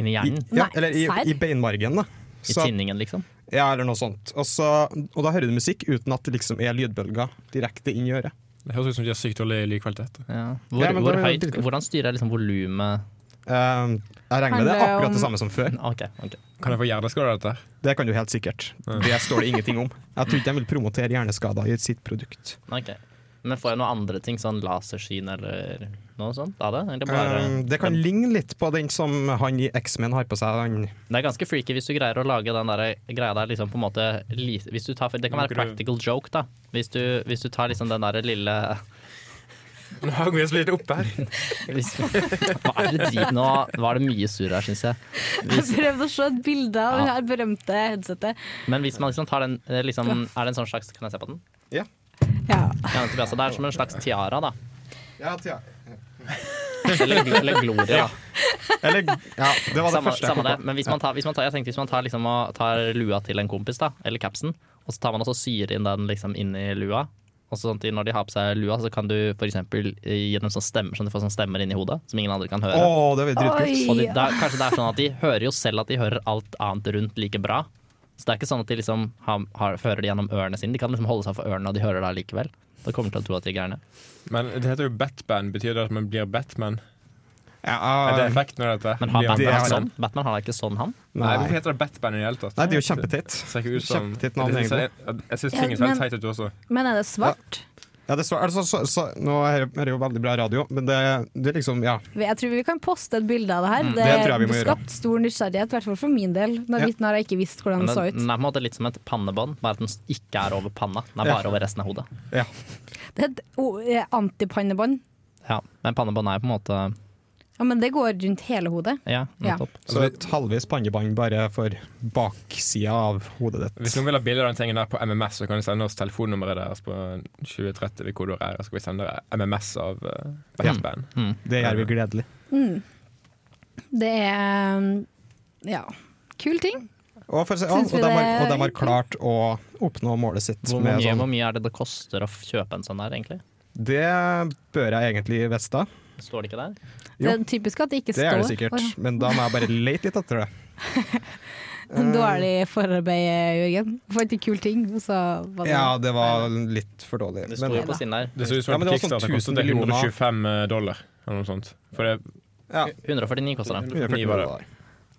[SPEAKER 2] Inni
[SPEAKER 4] i,
[SPEAKER 2] hjernen.
[SPEAKER 4] ja,
[SPEAKER 1] Nei,
[SPEAKER 4] eller i,
[SPEAKER 1] serr?
[SPEAKER 4] i beinmargen. da.
[SPEAKER 2] I
[SPEAKER 4] Så at-
[SPEAKER 2] tinningen, liksom.
[SPEAKER 4] Ja, eller noe sånt. Og, så, og da hører du musikk uten at det liksom er lydbølger direkte inn i øret.
[SPEAKER 3] Det høres ut som de har sykt dårlig lydkvalitet.
[SPEAKER 2] Ja. Hvor,
[SPEAKER 4] Ja, men
[SPEAKER 2] hvor
[SPEAKER 4] da er det
[SPEAKER 2] høyt,
[SPEAKER 4] dritkult.
[SPEAKER 2] hvordan styrer jeg liksom volumet
[SPEAKER 4] Eh, jeg regner med det
[SPEAKER 1] Handler
[SPEAKER 4] er
[SPEAKER 1] om-
[SPEAKER 4] akkurat det samme som før.
[SPEAKER 2] Ok, ok.
[SPEAKER 3] Kan jeg få hjerneskade av dette? her?
[SPEAKER 4] Det kan du helt sikkert. Det står det ingenting om. Jeg tror ikke de vil promotere hjerneskader i sitt produkt.
[SPEAKER 2] ok. Men får jeg noen andre ting, sånn laserskinn eller noe sånt av det? Eller bare,
[SPEAKER 4] Eh, det kan ligne litt på den som han i X-Men har på seg. Han,
[SPEAKER 2] Det er ganske freaky hvis du greier å lage den der greia der liksom på en måte li- hvis du tar, Det kan være practical joke, da. Hvis du, hvis du tar liksom den derre lille
[SPEAKER 3] Nå hang vi oss litt opp her.
[SPEAKER 2] hvis, Hva er det drit nå? Var det mye surr her, syns jeg.
[SPEAKER 1] Jeg prøvde å se et bilde av det
[SPEAKER 2] Ja.
[SPEAKER 1] her berømte headsetet.
[SPEAKER 2] Men hvis man liksom tar den eh, liksom, Er det en sånn slags Kan jeg se på den?
[SPEAKER 1] Ja.
[SPEAKER 2] Ja, nettopp, ja. Så det er som en slags tiara, da.
[SPEAKER 4] ja,
[SPEAKER 2] Eller, gl- eller glorie, da.
[SPEAKER 4] eller, ja, det var det
[SPEAKER 2] Samme,
[SPEAKER 4] første jeg
[SPEAKER 2] samme
[SPEAKER 4] kom
[SPEAKER 2] det.
[SPEAKER 4] på.
[SPEAKER 2] Men hvis man tar, hvis man tar, jeg tenkte hvis man tar, liksom, og tar lua til en kompis, da, eller capsen, og så tar man også og syr inn den liksom, inn i lua. Og sånn til når de har på seg lua, så kan du f.eks. gi dem sånn stemmer, sånn at de får sånn stemmer inni hodet som ingen andre kan høre.
[SPEAKER 4] Å, det var dritkult.
[SPEAKER 2] Og de,
[SPEAKER 1] Oi.
[SPEAKER 2] da, kanskje det er sånn at de hører jo selv at de hører alt annet rundt like bra. Så det er ikke sånn at de liksom har, har, hører det gjennom ørene sine. De kan liksom holde seg for ørene, og de hører det likevel. Da kommer de til å tro at de er gærne.
[SPEAKER 3] Men det heter jo Batman. Betyr det at man blir Batman?
[SPEAKER 4] Ja,
[SPEAKER 3] Er det
[SPEAKER 4] eh,
[SPEAKER 3] effekten av dette?
[SPEAKER 2] Men har
[SPEAKER 3] Blir man
[SPEAKER 2] Batman,
[SPEAKER 4] har
[SPEAKER 2] sånn? Batman har da ikke sånn, han?
[SPEAKER 3] Nei,
[SPEAKER 4] nei.
[SPEAKER 3] hvorfor heter det Batman i det hele tatt?
[SPEAKER 4] nei, det er jo kjempeteit.
[SPEAKER 3] Ser ikke ut som
[SPEAKER 4] Kjempeteit navn,
[SPEAKER 3] Jeg-
[SPEAKER 4] egentlig.
[SPEAKER 3] Jeg, jeg syns
[SPEAKER 1] Ja,
[SPEAKER 3] ting er så
[SPEAKER 1] men-
[SPEAKER 3] helt teit ut også.
[SPEAKER 1] Men er det svart?
[SPEAKER 4] Ja, det er så, er det så, så, så, nå er det- er det jo veldig bra radio, men det, det er liksom, ja. Mm.
[SPEAKER 1] Jeg tror vi kan poste et bilde av det her.
[SPEAKER 4] det tror jeg vi må gjøre.
[SPEAKER 1] skapt stor nysgjerrighet, i hvert fall for min del. Når
[SPEAKER 4] Ja. mm.
[SPEAKER 1] Vitten har jeg ikke visst hvordan
[SPEAKER 2] Men
[SPEAKER 1] det så
[SPEAKER 2] den,
[SPEAKER 1] ut.
[SPEAKER 2] den er på en måte litt som et pannebånd, bare at den ikke er over panna. Den er
[SPEAKER 4] Ja.
[SPEAKER 2] bare over resten av hodet.
[SPEAKER 4] ja.
[SPEAKER 1] Det er et o- eh, antipannebånd.
[SPEAKER 2] Ja, Men pannebånd er på en måte
[SPEAKER 1] Ja, men det går rundt hele hodet.
[SPEAKER 2] Ja,
[SPEAKER 1] Ja.
[SPEAKER 2] nettopp.
[SPEAKER 4] Så et halvvis pannebånd bare for baksida av hodet ditt.
[SPEAKER 3] Hvis noen vil ha bilde av den tingen der på MMS, så kan de sende oss telefonnummeret deres på 2030 ved kodeord R. og Så skal vi sende dere MMS av eh, Batman.
[SPEAKER 2] Hmm.
[SPEAKER 4] Det gjør vi gledelig.
[SPEAKER 1] Det er um, ja, kul ting.
[SPEAKER 4] Og, for, å si- ja,
[SPEAKER 1] Syns
[SPEAKER 4] og,
[SPEAKER 1] vi
[SPEAKER 4] de har,
[SPEAKER 1] det er
[SPEAKER 4] og de har klart å oppnå målet sitt
[SPEAKER 2] Hvor
[SPEAKER 4] med
[SPEAKER 2] mye, hvor
[SPEAKER 4] sånn
[SPEAKER 2] mye er det det koster å kjøpe en sånn der, egentlig?
[SPEAKER 4] Det bør jeg egentlig vite.
[SPEAKER 2] Står det ikke der?
[SPEAKER 1] Det
[SPEAKER 4] Jo.
[SPEAKER 1] er typisk at det ikke
[SPEAKER 4] Det er
[SPEAKER 1] står.
[SPEAKER 4] det sikkert,
[SPEAKER 1] Oi,
[SPEAKER 4] men da må jeg bare lete litt etter det.
[SPEAKER 1] Dårlig forarbeid, Jørgen. Fant en kul ting, og så var det
[SPEAKER 4] Ja, det var litt for dårlig.
[SPEAKER 2] Det
[SPEAKER 4] Men,
[SPEAKER 2] står jo på siden der.
[SPEAKER 3] Det ser ut
[SPEAKER 4] Ja,
[SPEAKER 3] som ja,
[SPEAKER 4] men det var sånn
[SPEAKER 3] Kickstarter
[SPEAKER 4] 1000
[SPEAKER 3] kostet
[SPEAKER 4] millioner.
[SPEAKER 3] 125 eh, dollar eller noe sånt. For det,
[SPEAKER 4] ja,
[SPEAKER 2] 149 koster den.
[SPEAKER 4] 149
[SPEAKER 3] var det.
[SPEAKER 4] dollar.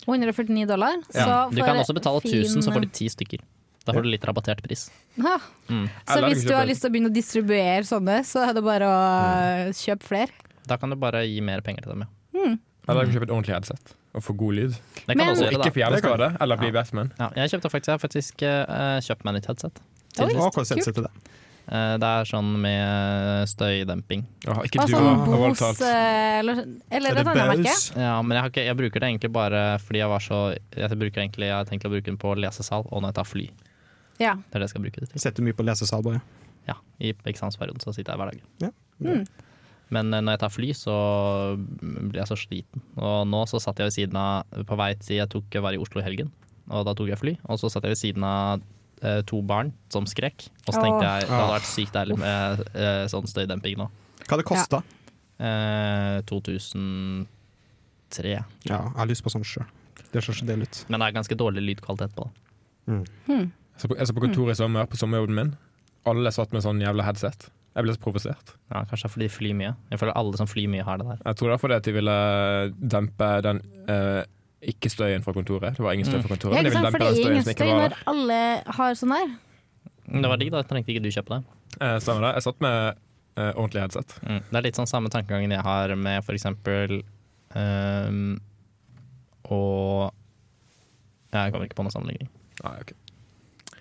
[SPEAKER 1] 149 dollar. Så
[SPEAKER 2] Du
[SPEAKER 1] for
[SPEAKER 2] kan også betale
[SPEAKER 1] fin-
[SPEAKER 2] 1000, så får du ti stykker. Da får du litt rabattert pris.
[SPEAKER 1] Ja.
[SPEAKER 2] Mm.
[SPEAKER 1] Så
[SPEAKER 3] Eller
[SPEAKER 1] hvis
[SPEAKER 3] kjøpe-
[SPEAKER 1] du har lyst til å begynne å distribuere sånne, så er det bare å kjøpe flere.
[SPEAKER 2] Da kan du bare gi mer penger til dem, ja.
[SPEAKER 3] Eller jeg kan kjøpe et ordentlig headset og få god lyd.
[SPEAKER 2] Det kan
[SPEAKER 1] Men-
[SPEAKER 2] du også
[SPEAKER 3] Og
[SPEAKER 2] gjøre,
[SPEAKER 3] ikke
[SPEAKER 2] da.
[SPEAKER 3] få hjerneskade eller bli
[SPEAKER 2] Ja.
[SPEAKER 3] Batman.
[SPEAKER 2] Ja, jeg kjøpte faktisk, jeg har faktisk eh, kjøpt meg nytt headset. Til
[SPEAKER 1] Oi.
[SPEAKER 2] sist.
[SPEAKER 4] Og hvordan setter du det?
[SPEAKER 2] Eh, det er sånn med støydemping.
[SPEAKER 3] Åh, ikke
[SPEAKER 1] Bare
[SPEAKER 3] du
[SPEAKER 1] sånn
[SPEAKER 3] har
[SPEAKER 1] Bose
[SPEAKER 3] voldtatt.
[SPEAKER 1] eh, eller, eller et annet merke.
[SPEAKER 2] Ja, men jeg, har ikke, jeg bruker det egentlig bare fordi jeg var så Jeg bruker egentlig, jeg har tenkt å bruke den på lesesal og når jeg tar fly.
[SPEAKER 1] Ja.
[SPEAKER 2] Det er det jeg skal bruke det til.
[SPEAKER 4] Setter mye på lesesal, bare.
[SPEAKER 2] Ja, I eksamensperioden så sitter jeg hver dag.
[SPEAKER 4] Ja.
[SPEAKER 2] Men eh, når jeg tar fly, så blir jeg så sliten. Og nå så satt jeg ved siden av På vei til jeg tok, var i Oslo i helgen, og da tok jeg fly. Og så satt jeg ved siden av eh, to barn som skrek. Og så tenkte jeg det hadde vært sykt deilig med eh, sånn støydemping nå.
[SPEAKER 4] Hva det kosta?
[SPEAKER 2] Eh, 2003.
[SPEAKER 4] Ja. jeg har lyst på sånn sjøl. Det ser så deilig ut.
[SPEAKER 2] Men det er ganske dårlig lydkvalitet på det.
[SPEAKER 3] Så på- Jeg så på kontoret i sommer, på sommerjobben min. Alle satt med sånn jævla headset. Jeg ble så provosert.
[SPEAKER 2] Ja, kanskje det er fordi de flyr mye. Jeg føler alle som flyr mye, har det der.
[SPEAKER 3] Jeg tror det er fordi at de ville dempe den eh, ikke-støyen fra kontoret. Det var ingen støy fra kontoret.
[SPEAKER 1] Mm. Ja,
[SPEAKER 3] men de
[SPEAKER 1] ikke
[SPEAKER 3] ville
[SPEAKER 1] sant, for
[SPEAKER 3] dempe
[SPEAKER 1] det
[SPEAKER 3] den
[SPEAKER 1] er
[SPEAKER 3] støyen
[SPEAKER 1] ingen støy
[SPEAKER 3] som ikke var
[SPEAKER 1] når
[SPEAKER 3] der.
[SPEAKER 1] alle har sånn her.
[SPEAKER 2] Men Det var digg, da trengte ikke du kjøpe det.
[SPEAKER 3] Eh, stemmer det. Jeg satt med eh, ordentlig headset.
[SPEAKER 2] Mm. Det er litt sånn samme tankegangen jeg har med for eksempel ehm, Og Jeg kommer ikke på noen sammenligning.
[SPEAKER 3] Nei, ok.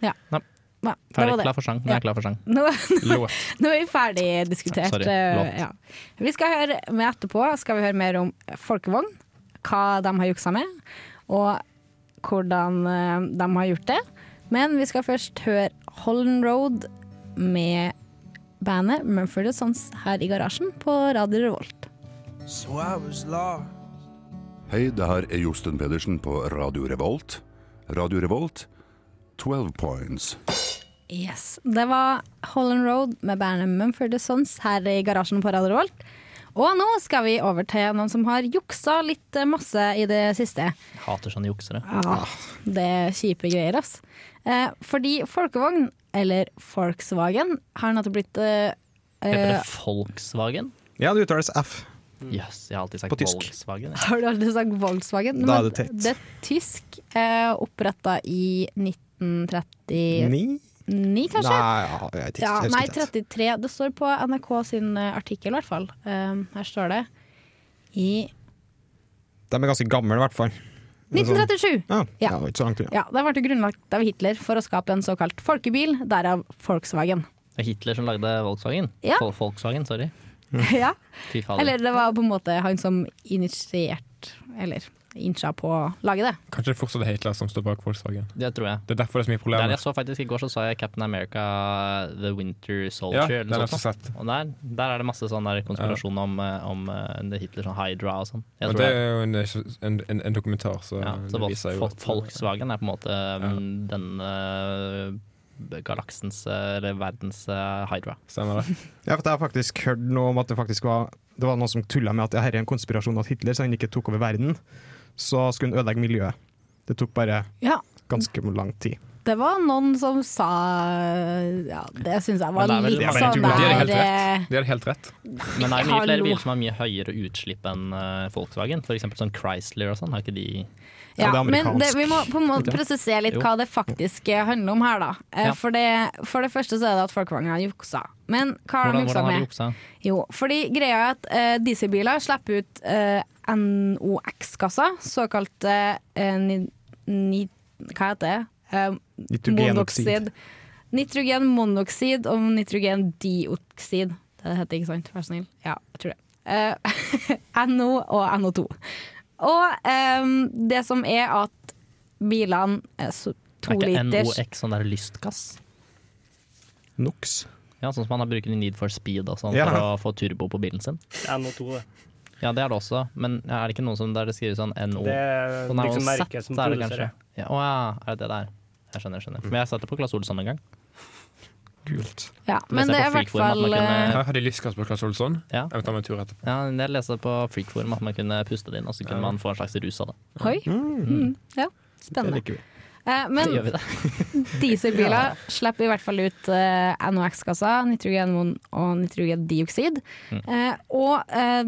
[SPEAKER 1] Nei, det
[SPEAKER 2] Ferdig,
[SPEAKER 1] var det.
[SPEAKER 2] klar for sang. Nå
[SPEAKER 1] Ja.
[SPEAKER 2] er jeg klar for sang.
[SPEAKER 1] Nå,
[SPEAKER 3] Låt.
[SPEAKER 1] nå er vi ferdig diskutert.
[SPEAKER 2] Sorry,
[SPEAKER 1] eh,
[SPEAKER 2] låt.
[SPEAKER 1] ja. Vi skal høre med etterpå skal vi høre mer om folkevogn, hva de har juksa med, og hvordan eh, de har gjort det. Men vi skal først høre Holland Road med bandet Mumford Sons her i garasjen på Radio Revolt.
[SPEAKER 6] So I was lost.
[SPEAKER 7] Hei, det her er Josten Pedersen på Radio Revolt. Radio Revolt, 12 points.
[SPEAKER 1] Yes, Det var Holland Road med bandet Mumford Sons her i garasjen på Radio Revolt. Og nå skal vi over til noen som har juksa litt eh, masse i det siste.
[SPEAKER 2] Jeg hater sånne juksere.
[SPEAKER 1] Ja,
[SPEAKER 4] Ah.
[SPEAKER 1] det er kjipe greier, ass. Eh, fordi folkevogn, eller Volkswagen, har nettopp blitt eh,
[SPEAKER 2] Heter det
[SPEAKER 1] eh,
[SPEAKER 2] Volkswagen?
[SPEAKER 4] Ja, det uttales F.
[SPEAKER 2] Jøs, jeg har alltid
[SPEAKER 4] På
[SPEAKER 2] sagt
[SPEAKER 4] tysk.
[SPEAKER 2] Volkswagen. jeg.
[SPEAKER 1] Har du aldri sagt Volkswagen?
[SPEAKER 4] Da er
[SPEAKER 1] Men
[SPEAKER 4] det teit.
[SPEAKER 1] Det er tysk, eh, oppretta i 1939,
[SPEAKER 4] Ni?
[SPEAKER 1] kanskje?
[SPEAKER 4] Nei, ja, jeg vet ikke.
[SPEAKER 1] Ja,
[SPEAKER 4] Jeg
[SPEAKER 1] nei,
[SPEAKER 4] husker ikke.
[SPEAKER 1] 33. Det står på NRK sin eh, artikkel, i hvert fall. Eh, her står det i
[SPEAKER 4] De er ganske gamle, i hvert fall. sånn-
[SPEAKER 1] 1937!
[SPEAKER 4] Ja,
[SPEAKER 1] Ja.
[SPEAKER 4] ja. det var ikke så langt unna.
[SPEAKER 1] Ja, Det ble grunnlagt av Hitler for å skape en såkalt folkebil, derav Volkswagen.
[SPEAKER 2] Det er Hitler som lagde Volkswagen.
[SPEAKER 1] Ja.
[SPEAKER 2] Vol- Volkswagen, sorry.
[SPEAKER 4] Mm.
[SPEAKER 1] ja.
[SPEAKER 2] Fy fader.
[SPEAKER 1] Eller det var på en måte han som initierte, eller incha på å lage det.
[SPEAKER 3] Kanskje det fortsatt er Hitler som står bak Volkswagen.
[SPEAKER 2] Det tror jeg.
[SPEAKER 3] Det er derfor det er så mye
[SPEAKER 2] Der
[SPEAKER 3] problemer.
[SPEAKER 2] jeg så faktisk I går så så jeg Captain America The Winter Soldier.
[SPEAKER 3] Ja,
[SPEAKER 2] eller
[SPEAKER 3] den
[SPEAKER 2] noe
[SPEAKER 3] har jeg
[SPEAKER 2] sånt.
[SPEAKER 3] også sett.
[SPEAKER 2] Og der, der er det masse sånn der konspirasjon om, eh, om eh, det Hitler sånn Hydra og sånn. Jeg
[SPEAKER 3] Men
[SPEAKER 2] tror
[SPEAKER 3] det
[SPEAKER 2] det,
[SPEAKER 3] er jo en, en, en, en dokumentar, så,
[SPEAKER 2] ja, så
[SPEAKER 3] det
[SPEAKER 2] Vol-
[SPEAKER 3] viser jo
[SPEAKER 2] Vol-
[SPEAKER 3] at
[SPEAKER 2] Volkswagen er på en måte mm, denne eh, galaksens eh, eller verdens eh, Hydra.
[SPEAKER 3] Stemmer det.
[SPEAKER 4] Ja, for jeg har faktisk hørt noe om at det faktisk var Det var noen som tulla med at det her er en konspirasjon at Hitler, så han ikke tok over verden, så skulle han ødelegge miljøet. Det tok bare
[SPEAKER 1] Ja,
[SPEAKER 4] ganske lang tid.
[SPEAKER 1] det var noen som sa Ja, det syns jeg var
[SPEAKER 2] Men det er vel-
[SPEAKER 1] litt
[SPEAKER 2] det er vel
[SPEAKER 1] sånn
[SPEAKER 3] De hadde
[SPEAKER 1] der
[SPEAKER 3] helt
[SPEAKER 1] eh,
[SPEAKER 3] rett. De hadde helt rett.
[SPEAKER 2] Men det er jo mye
[SPEAKER 1] Hallo.
[SPEAKER 2] flere biler som har mye høyere utslipp enn eh, Volkswagen. For eksempel sånn Chrysler og sånn. Har ikke de
[SPEAKER 4] Ja,
[SPEAKER 1] ja,
[SPEAKER 4] det er
[SPEAKER 1] men det,
[SPEAKER 4] amerikansk.
[SPEAKER 1] vi må på en måte presisere litt
[SPEAKER 2] Jo.
[SPEAKER 1] hva det faktisk eh, handler om her, da. Eh,
[SPEAKER 2] Ja.
[SPEAKER 1] For, det, for det første så er det at Folkevogn har juksa. Men hva har de
[SPEAKER 2] Hvordan,
[SPEAKER 1] juksa
[SPEAKER 2] hvordan har de
[SPEAKER 1] med?
[SPEAKER 2] juksa?
[SPEAKER 1] Jo, fordi greia er at eh, dieselbiler slipper ut eh, NOx-gasser, såkalt eh, ni, ni, Hva heter det? Eh,
[SPEAKER 4] Nitrogenoksid.
[SPEAKER 1] monoksid. Nitrogenmonoksid og nitrogendioksid. Det heter det, ikke sant? Vær så snill. Ja, jeg tror det. Eh, NO og NO2. Og eh, det som er at bilene er så to
[SPEAKER 2] Er ikke
[SPEAKER 1] liters
[SPEAKER 2] NOx sånn der lystgass?
[SPEAKER 4] Nox.
[SPEAKER 2] Ja, Sånn som man har bruker i Need for Speed og sånn,
[SPEAKER 4] Ja.
[SPEAKER 2] for å få turbo på bilen sin.
[SPEAKER 8] NO2, det.
[SPEAKER 2] Ja, det er det også, men er det ikke noen som der det skrives sånn NO?
[SPEAKER 8] Det er
[SPEAKER 2] Sånn er
[SPEAKER 8] liksom
[SPEAKER 2] noe
[SPEAKER 8] merket som
[SPEAKER 2] sett, er det
[SPEAKER 8] produserer.
[SPEAKER 2] kanskje. Ja, å ja, er det det der? Jeg skjønner, jeg skjønner. Men jeg satte på Claes Olsson en gang.
[SPEAKER 4] Kult.
[SPEAKER 1] Ja, men det
[SPEAKER 2] jeg på
[SPEAKER 1] er i hvert
[SPEAKER 2] Freakforum at
[SPEAKER 1] fall
[SPEAKER 2] man kunne-
[SPEAKER 1] eh,
[SPEAKER 3] Her har de lystgass på Claes Olsson.
[SPEAKER 2] Ja.
[SPEAKER 3] Jeg må ta meg en tur etterpå.
[SPEAKER 2] ja, Jeg leste på Freakforum at man kunne puste det inn, og så kunne man få en slags rus av det.
[SPEAKER 1] Oi. Mm, ja,
[SPEAKER 4] Det
[SPEAKER 1] spennende.
[SPEAKER 4] liker vi.
[SPEAKER 1] Eh,
[SPEAKER 2] Så
[SPEAKER 1] men
[SPEAKER 2] gjør vi det.
[SPEAKER 1] Dieselbiler slipper i hvert fall ut eh, NOx-gasser, nitrogenmon og nitrogendioksid.
[SPEAKER 2] Mm.
[SPEAKER 1] Eh, og eh,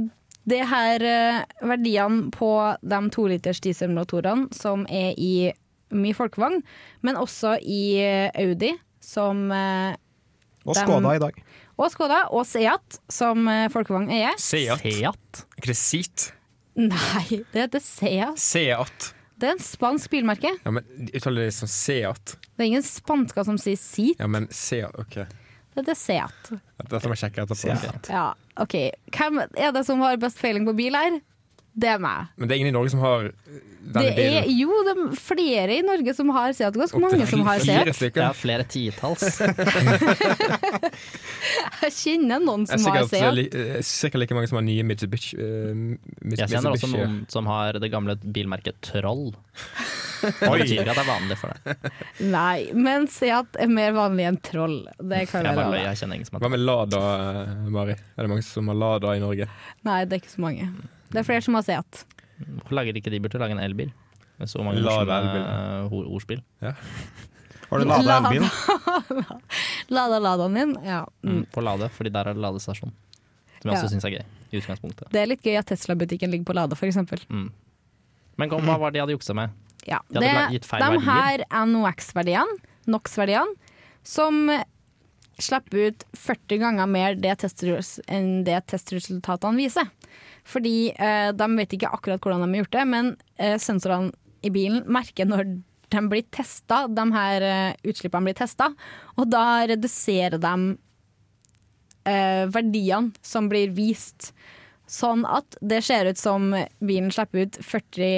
[SPEAKER 1] det her eh, verdiene på de to liters dieselmotorene som er i mye folkevogn, men også i eh, Audi, som eh,
[SPEAKER 4] Og
[SPEAKER 1] Dem-
[SPEAKER 4] Skoda i dag.
[SPEAKER 1] Og Skoda og Seat, som eh, folkevogn eier.
[SPEAKER 8] Seat.
[SPEAKER 2] Seat?
[SPEAKER 8] Er ikke det Seat?
[SPEAKER 1] Nei, det heter Seat.
[SPEAKER 8] Seat.
[SPEAKER 1] Det er en spansk bilmerke.
[SPEAKER 3] Ja, men Uttaler det som Seat?
[SPEAKER 1] Det er ingen spansker som sier Seat,
[SPEAKER 3] Ja, men Seat, OK.
[SPEAKER 1] det heter Seat.
[SPEAKER 3] Dette må jeg sjekke etterpå.
[SPEAKER 1] Ja, ok. Hvem er det som har best feiling på bil her? Det er meg.
[SPEAKER 3] Men det er ingen i Norge som har denne
[SPEAKER 1] Det er
[SPEAKER 3] bilen.
[SPEAKER 1] jo det er flere i Norge som har Seat. Ganske mange som har
[SPEAKER 3] fire
[SPEAKER 1] Seat.
[SPEAKER 2] Det
[SPEAKER 3] stykker.
[SPEAKER 2] er flere titalls.
[SPEAKER 1] Jeg kjenner noen
[SPEAKER 3] Det er
[SPEAKER 1] som har
[SPEAKER 3] sikkert,
[SPEAKER 1] Seat.
[SPEAKER 3] li- eh, sikkert like mange som har nye Mitsubishi. eh, Mits-
[SPEAKER 2] Jeg kjenner også
[SPEAKER 3] Mitsubishi.
[SPEAKER 2] noen som har det gamle bilmerket Troll. Det betyr ikke at det er vanlig for det.
[SPEAKER 1] Nei, men Seat er mer vanlig enn troll. Det kan
[SPEAKER 2] Jeg
[SPEAKER 1] jeg
[SPEAKER 2] bare løy,
[SPEAKER 1] være.
[SPEAKER 2] jeg kjenner ingen som
[SPEAKER 3] Hva
[SPEAKER 2] har
[SPEAKER 3] med Lada, eh, Mari? Er det mange som har Lada i Norge?
[SPEAKER 1] Nei, det er ikke så mange. Det er flere som har Seat.
[SPEAKER 2] Hvorfor lager ikke de burde lage en elbil? Med så mange
[SPEAKER 3] Lada
[SPEAKER 2] morsomme
[SPEAKER 3] elbil.
[SPEAKER 2] eh, ord- ordspill.
[SPEAKER 4] Har du lada
[SPEAKER 1] Lada.
[SPEAKER 4] elbilen?
[SPEAKER 1] Lada Ladaen min, ja. Mm.
[SPEAKER 2] På Lade, fordi der er det ladestasjon. Som jeg
[SPEAKER 1] Ja.
[SPEAKER 2] også syns er gøy. I utgangspunktet.
[SPEAKER 1] Det er litt gøy at Tesla-butikken ligger på Lada, f.eks.
[SPEAKER 2] Mm. Men kom, hva var det de hadde juksa med?
[SPEAKER 1] Ja,
[SPEAKER 2] De hadde la- gitt feil
[SPEAKER 1] de
[SPEAKER 2] verdier.
[SPEAKER 1] her NOx-verdiene, NOx-verdiene, som slipper ut 40 ganger mer det testresultat- enn det testresultatene viser. Fordi eh, de vet ikke akkurat hvordan de har gjort det, men eh, sensorene i bilen merker når de blir testa, de her eh, utslippene blir testa, og da reduserer de eh, verdiene som blir vist. Sånn at det ser ut som bilen slipper ut 40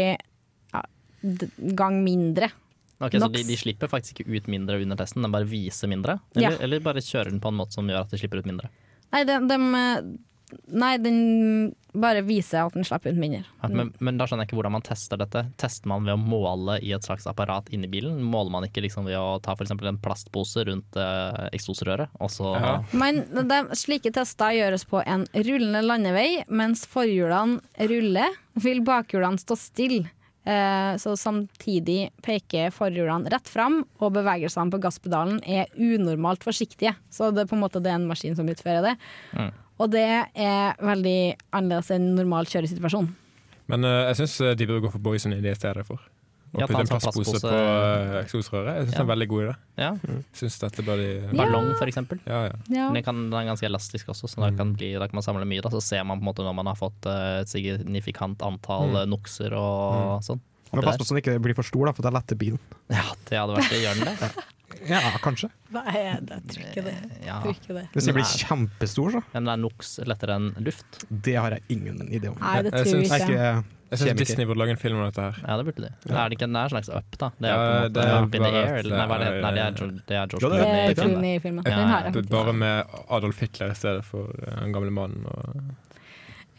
[SPEAKER 1] ja, d- gang mindre.
[SPEAKER 2] Ok, så
[SPEAKER 1] Nox.
[SPEAKER 2] de, de slipper faktisk ikke ut mindre under testen, de bare viser mindre? Eller,
[SPEAKER 1] Ja.
[SPEAKER 2] eller bare kjører den på en måte som gjør at de slipper ut mindre?
[SPEAKER 1] Nei, den, dem, eh, nei, den bare viser at den slipper ut mindre.
[SPEAKER 2] Ja, Men, men da skjønner jeg ikke hvordan man tester dette. Tester man ved å måle i et slags apparat inni bilen? Måler man ikke liksom ved å ta for eksempel en plastpose rundt eh, eksosrøret, og så
[SPEAKER 3] Ja.
[SPEAKER 1] Men de, slike tester gjøres på en rullende landevei, mens forhjulene ruller, vil bakhjulene stå stille. Eh, Så samtidig peker forhjulene rett fram, og bevegelsene på gasspedalen er unormalt forsiktige. Så det er på en måte det er en maskin som utfører det. Og det er veldig annerledes enn normal kjøresituasjon.
[SPEAKER 3] Men eh, jeg syns de burde gå for Boysen i det stedet for. Å
[SPEAKER 2] Ja, ta
[SPEAKER 3] putte
[SPEAKER 2] en
[SPEAKER 3] en
[SPEAKER 2] sånn
[SPEAKER 3] plastpose
[SPEAKER 2] plastpose.
[SPEAKER 3] på eh, eksosrøret. Jeg syns det er en veldig god idé.
[SPEAKER 2] ja.
[SPEAKER 3] Syns dette bør de
[SPEAKER 2] Ballong, for eksempel.
[SPEAKER 3] Ja, ja.
[SPEAKER 1] Ja.
[SPEAKER 2] Men Den, kan, den er ganske elastisk også, så da kan, bli, da kan man samle mye. Da. Så ser man på en måte når man har fått eh, et signifikant antall eh, nokser og sånn.
[SPEAKER 4] Men pass på så den ikke blir for stor, da, for det letter bilen.
[SPEAKER 2] Ja, det hadde vært det. Gjør den det?
[SPEAKER 4] Ja, kanskje.
[SPEAKER 1] Nei, jeg tror ikke det.
[SPEAKER 2] Ja.
[SPEAKER 4] Hvis den blir kjempestor, så.
[SPEAKER 2] Men det er noks lettere enn luft.
[SPEAKER 4] Det har jeg ingen idé om.
[SPEAKER 1] Nei, det
[SPEAKER 3] Jeg
[SPEAKER 1] tror
[SPEAKER 3] syns-
[SPEAKER 4] Jeg
[SPEAKER 1] jeg
[SPEAKER 4] er
[SPEAKER 1] ikke.
[SPEAKER 4] ikke
[SPEAKER 3] Jeg syns
[SPEAKER 4] Kjemiker.
[SPEAKER 3] Disney burde lage en film om dette her.
[SPEAKER 2] Ja, det burde de. Men Er det ikke det er en slags up, da? Det er,
[SPEAKER 3] Ja,
[SPEAKER 2] på
[SPEAKER 3] det
[SPEAKER 2] en
[SPEAKER 3] er
[SPEAKER 2] måte up in the
[SPEAKER 3] bare
[SPEAKER 2] air,
[SPEAKER 3] at
[SPEAKER 2] eller nei, hva er det?
[SPEAKER 3] det er-
[SPEAKER 2] Nei, det er Jo- det er George
[SPEAKER 4] Jo, det
[SPEAKER 1] Det
[SPEAKER 4] er
[SPEAKER 1] er
[SPEAKER 2] Clooney. i
[SPEAKER 1] Clooney Eh, i
[SPEAKER 2] filmen.
[SPEAKER 1] filmen.
[SPEAKER 2] Ja,
[SPEAKER 1] Den har
[SPEAKER 3] B-
[SPEAKER 1] jeg.
[SPEAKER 3] Bare med Adolf Hitler i stedet for eh, den gamle mannen. Og,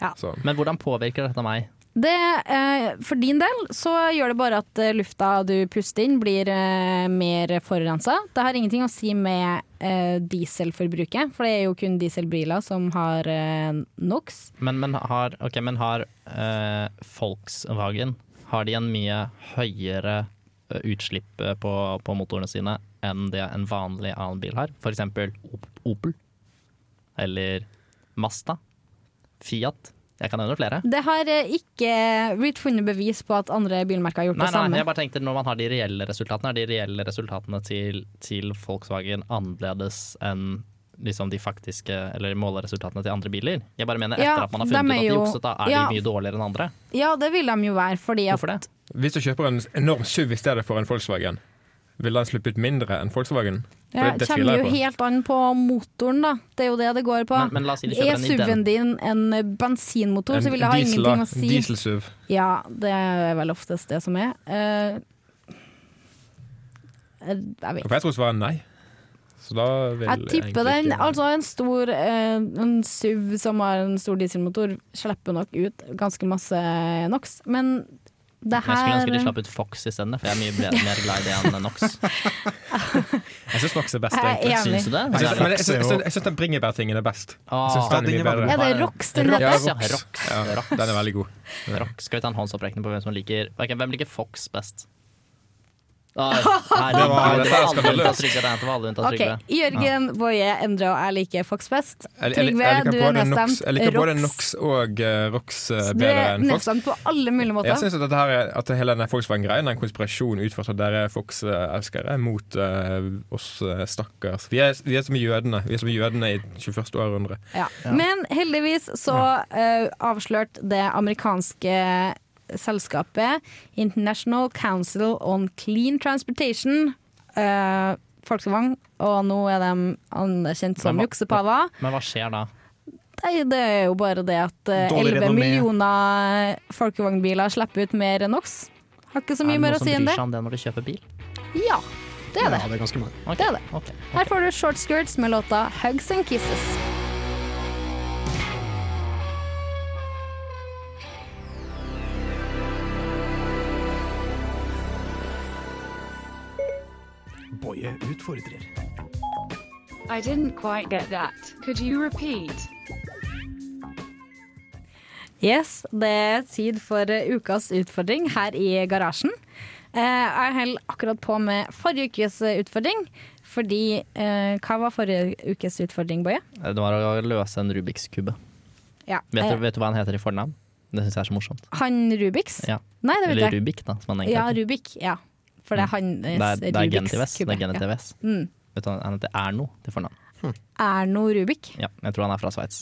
[SPEAKER 1] Ja.
[SPEAKER 3] sånn.
[SPEAKER 2] Men hvordan påvirker dette meg?
[SPEAKER 1] Det, eh, for din del så gjør det bare at eh, lufta du puster inn blir eh, mer forurensa. Det har ingenting å si med eh, dieselforbruket, for det er jo kun dieselbiler som har eh, NOx.
[SPEAKER 2] Men, men har, ok, men har eh, Volkswagen Har de en mye høyere eh, utslipp eh, på, på motorene sine enn det en vanlig annen bil har? For eksempel Op Opel. Eller Mazda. Fiat. Jeg kan nevne flere.
[SPEAKER 1] Det har eh, ikke blitt funnet bevis på at andre bilmerker har gjort
[SPEAKER 2] Nei,
[SPEAKER 1] det
[SPEAKER 2] nei,
[SPEAKER 1] samme.
[SPEAKER 2] jeg bare tenkte når man har de reelle resultatene, er de reelle resultatene til, til Volkswagen annerledes enn liksom de faktiske, eller måleresultatene til andre biler? Jeg bare mener etter
[SPEAKER 1] Ja,
[SPEAKER 2] at man har
[SPEAKER 1] dem
[SPEAKER 2] funnet ut
[SPEAKER 1] er
[SPEAKER 2] at de
[SPEAKER 1] jo-
[SPEAKER 2] jukset, da er
[SPEAKER 1] ja.
[SPEAKER 2] de mye dårligere enn andre.
[SPEAKER 1] Ja, det vil de jo være, fordi at
[SPEAKER 2] Hvorfor det?
[SPEAKER 3] Hvis du kjøper en enorm SUV i stedet for en Volkswagen, vil den slippe ut mindre enn Volkswagen? For
[SPEAKER 1] ja,
[SPEAKER 3] det-
[SPEAKER 1] det eh,
[SPEAKER 3] det
[SPEAKER 1] kommer
[SPEAKER 3] tviler
[SPEAKER 1] jo
[SPEAKER 3] jeg på.
[SPEAKER 1] helt an på motoren, da. Det er jo det det går på.
[SPEAKER 2] Men- men la oss si de
[SPEAKER 1] er
[SPEAKER 2] kjøper en
[SPEAKER 1] SUV-en
[SPEAKER 2] ident-
[SPEAKER 1] din en bensinmotor, så
[SPEAKER 3] En
[SPEAKER 1] vil det ha
[SPEAKER 3] diesel,
[SPEAKER 1] ingenting
[SPEAKER 3] da.
[SPEAKER 1] å si.
[SPEAKER 3] Diesel-SUV.
[SPEAKER 1] Ja, det er vel oftest det som er. Eh, jeg
[SPEAKER 3] Ja,
[SPEAKER 1] vet
[SPEAKER 3] For jeg tror svaret er nei. Så da vil
[SPEAKER 1] jeg tipper
[SPEAKER 3] egentlig
[SPEAKER 1] den
[SPEAKER 3] ikke-
[SPEAKER 1] Altså en stor eh, En SUV som har en stor dieselmotor, slipper nok ut ganske masse NOx, men det
[SPEAKER 2] Jeg skulle ønske de
[SPEAKER 1] her
[SPEAKER 2] slapp ut Fox isteden, for jeg er mye ble- mer glad i det enn Nox.
[SPEAKER 3] Jeg syns Nox er best,
[SPEAKER 1] Jeg er
[SPEAKER 3] egentlig.
[SPEAKER 1] enig.
[SPEAKER 2] Syns du det?
[SPEAKER 3] Jeg synes-
[SPEAKER 2] Ja,
[SPEAKER 3] men jeg synes- jeg synes- jeg syns den bringebærtingen er best. Jeg synes
[SPEAKER 2] Ah.
[SPEAKER 3] den er mye
[SPEAKER 4] Ja, den er
[SPEAKER 3] bedre.
[SPEAKER 1] Ja, det er Rox den
[SPEAKER 2] Rox,
[SPEAKER 1] heter.
[SPEAKER 2] ja.
[SPEAKER 3] Rox.
[SPEAKER 2] Rox.
[SPEAKER 3] Ja,
[SPEAKER 2] Rox.
[SPEAKER 3] Den er veldig god.
[SPEAKER 2] Rox. Skal vi ta en håndsopprekning på hvem som liker Ok, Hvem liker Fox best? Ah, Det
[SPEAKER 3] var-
[SPEAKER 2] var
[SPEAKER 3] dette er
[SPEAKER 2] alle unntatt
[SPEAKER 3] skandaløst.
[SPEAKER 2] Trygve. Det var alle unntatt
[SPEAKER 1] Ok,
[SPEAKER 2] Trygve.
[SPEAKER 1] Jørgen, Boje, Endre og jeg liker Fox best.
[SPEAKER 3] Jeg, jeg, jeg,
[SPEAKER 1] Trygve,
[SPEAKER 3] liker
[SPEAKER 1] du er
[SPEAKER 3] både Nox-
[SPEAKER 1] nedstemt.
[SPEAKER 3] jeg liker både
[SPEAKER 1] Rox.
[SPEAKER 3] Nox og eh, Rox eh,
[SPEAKER 1] Du
[SPEAKER 3] bedre
[SPEAKER 1] er
[SPEAKER 3] enn Fox.
[SPEAKER 1] nedstemt på alle mulige
[SPEAKER 3] Jeg
[SPEAKER 1] måter.
[SPEAKER 3] syns at, dette her er- at hele denne Volkswagen-greien er en konspirasjon utført av dere Fox-elskere mot eh, oss eh, stakkars. Vi er, vi er som jødene. Vi er som jødene i 21. århundre.
[SPEAKER 1] Ja. Men heldigvis så eh, avslørte det amerikanske selskapet International Council on Clean Transportation uh, Volkswagen, og nå er de anerkjent som
[SPEAKER 2] Men hva-
[SPEAKER 1] juksepaver.
[SPEAKER 2] Men hva skjer da?
[SPEAKER 1] Nei, det er jo bare det at eh,
[SPEAKER 4] Dårlig
[SPEAKER 1] 11
[SPEAKER 4] renommé.
[SPEAKER 1] millioner folkevognbiler slipper ut mer enn NOx. Har ikke så mye
[SPEAKER 2] er det
[SPEAKER 1] mer
[SPEAKER 2] noen
[SPEAKER 1] å
[SPEAKER 2] som
[SPEAKER 1] si enn
[SPEAKER 2] bryr
[SPEAKER 1] det.
[SPEAKER 2] seg om det når du kjøper bil?
[SPEAKER 1] Ja, det er det.
[SPEAKER 4] Ja, det er ganske mange.
[SPEAKER 2] Ok,
[SPEAKER 1] Det er det.
[SPEAKER 2] ok,
[SPEAKER 1] Her
[SPEAKER 2] ok.
[SPEAKER 1] får du Short Skirts med låta Hugs and Kisses.
[SPEAKER 8] I didn't quite get that. Could you repeat?
[SPEAKER 1] Yes, det er tid for eh, ukas utfordring her i garasjen. Eh, Jeg holder akkurat på med forrige ukes eh, utfordring. Fordi eh, Hva var forrige ukes utfordring, Boje?
[SPEAKER 2] Det var å løse en Rubiks kube.
[SPEAKER 1] Ja.
[SPEAKER 2] Vet, du-
[SPEAKER 1] eh,
[SPEAKER 2] vet du hva han heter i fornavn? Det syns jeg er så morsomt.
[SPEAKER 1] Han Rubiks?
[SPEAKER 2] Ja.
[SPEAKER 1] Nei, det vet
[SPEAKER 2] Eller
[SPEAKER 1] jeg.
[SPEAKER 2] Rubik, da, som han egentlig
[SPEAKER 1] Ja,
[SPEAKER 2] heter.
[SPEAKER 1] Rubik. Ja. For det er hans eh,
[SPEAKER 2] Det er, det er genitivs. Det
[SPEAKER 1] kube.
[SPEAKER 2] er genitivs.
[SPEAKER 1] Ja. Mm.
[SPEAKER 2] Vet du, han heter Erno til fornavn.
[SPEAKER 1] Erno Rubik?
[SPEAKER 2] Ja, jeg tror han er fra Sveits.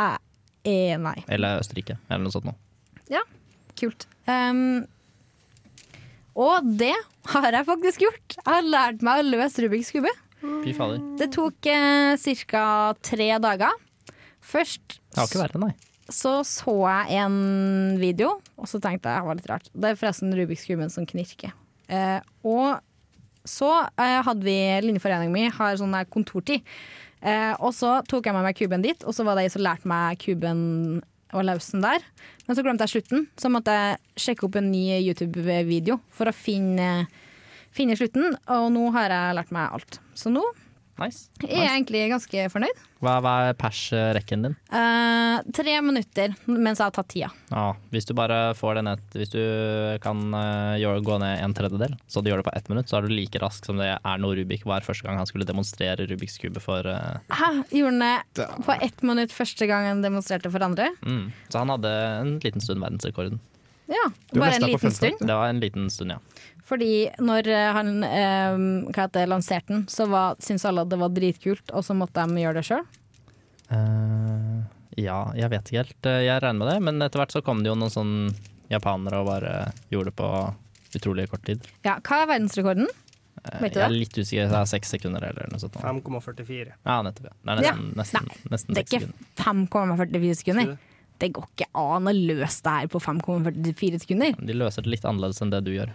[SPEAKER 1] Eh, eh, nei.
[SPEAKER 2] Eller Østerrike, eller noe sånt noe.
[SPEAKER 1] Ja, kult. Ehm, og det har jeg faktisk gjort. Jeg har lært meg å løse Rubiks kube.
[SPEAKER 2] Fy fader.
[SPEAKER 1] Det tok eh, ca. tre dager. Først
[SPEAKER 2] Det har ikke vært det, nei.
[SPEAKER 1] så så jeg en video, og så tenkte jeg det var litt rart. Det er forresten Rubiks kuben som knirker. Eh, og så eh, hadde vi Linjeforeningen min har sånn her kontortid. Eh, og så tok jeg med meg kuben dit, og så var det jeg som lærte meg kuben og lausen der. Men så glemte jeg slutten, så måtte jeg sjekke opp en ny YouTube-video for å finne, finne slutten. Og nå har jeg lært meg alt. Så nå
[SPEAKER 2] Nice.
[SPEAKER 1] er jeg
[SPEAKER 2] nice.
[SPEAKER 1] egentlig ganske fornøyd.
[SPEAKER 2] Hva, hva er pers-rekken din?
[SPEAKER 1] Eh, tre minutter mens jeg har tatt tida.
[SPEAKER 2] Ja, hvis du bare får det ned Hvis du kan eh, gjøre, gå ned en tredjedel, så du gjør det på ett minutt, så er du like rask som det Erno Rubik var første gang han skulle demonstrere Rubiks kube for eh,
[SPEAKER 1] Hæ? Gjorde han det på ett minutt første gang han demonstrerte for andre?
[SPEAKER 2] mm. Så han hadde en liten stund verdensrekorden.
[SPEAKER 1] Ja,
[SPEAKER 4] Du
[SPEAKER 1] bare
[SPEAKER 4] leste
[SPEAKER 1] en
[SPEAKER 4] det på
[SPEAKER 1] liten
[SPEAKER 4] Fun Fact,
[SPEAKER 1] stund.
[SPEAKER 2] Det var en liten stund, ja.
[SPEAKER 1] Fordi når eh, han eh, hva heter, det, lanserte den, så var, syntes alle at det var dritkult, og så måtte de gjøre det sjøl.
[SPEAKER 2] Eh, ja, jeg vet ikke helt. Eh, Jeg regner med det, men etter hvert så kom det jo noen sånn japanere og bare gjorde det på utrolig kort tid.
[SPEAKER 1] Ja, hva er verdensrekorden?
[SPEAKER 2] Eh,
[SPEAKER 1] Vet du
[SPEAKER 2] jeg er
[SPEAKER 1] det?
[SPEAKER 2] litt usikker, det er seks sekunder eller noe sånt. nå.
[SPEAKER 9] 5,44.
[SPEAKER 2] Ja, nettopp. Ja. Det er nesten, nesten, nesten
[SPEAKER 1] Det
[SPEAKER 2] seks
[SPEAKER 1] er ikke
[SPEAKER 2] sekunder.
[SPEAKER 1] 5,44 sekunder.
[SPEAKER 9] Tror du det?
[SPEAKER 1] Det går ikke an å løse det her på 5,44 sekunder.
[SPEAKER 2] De løser det litt annerledes enn det du gjør.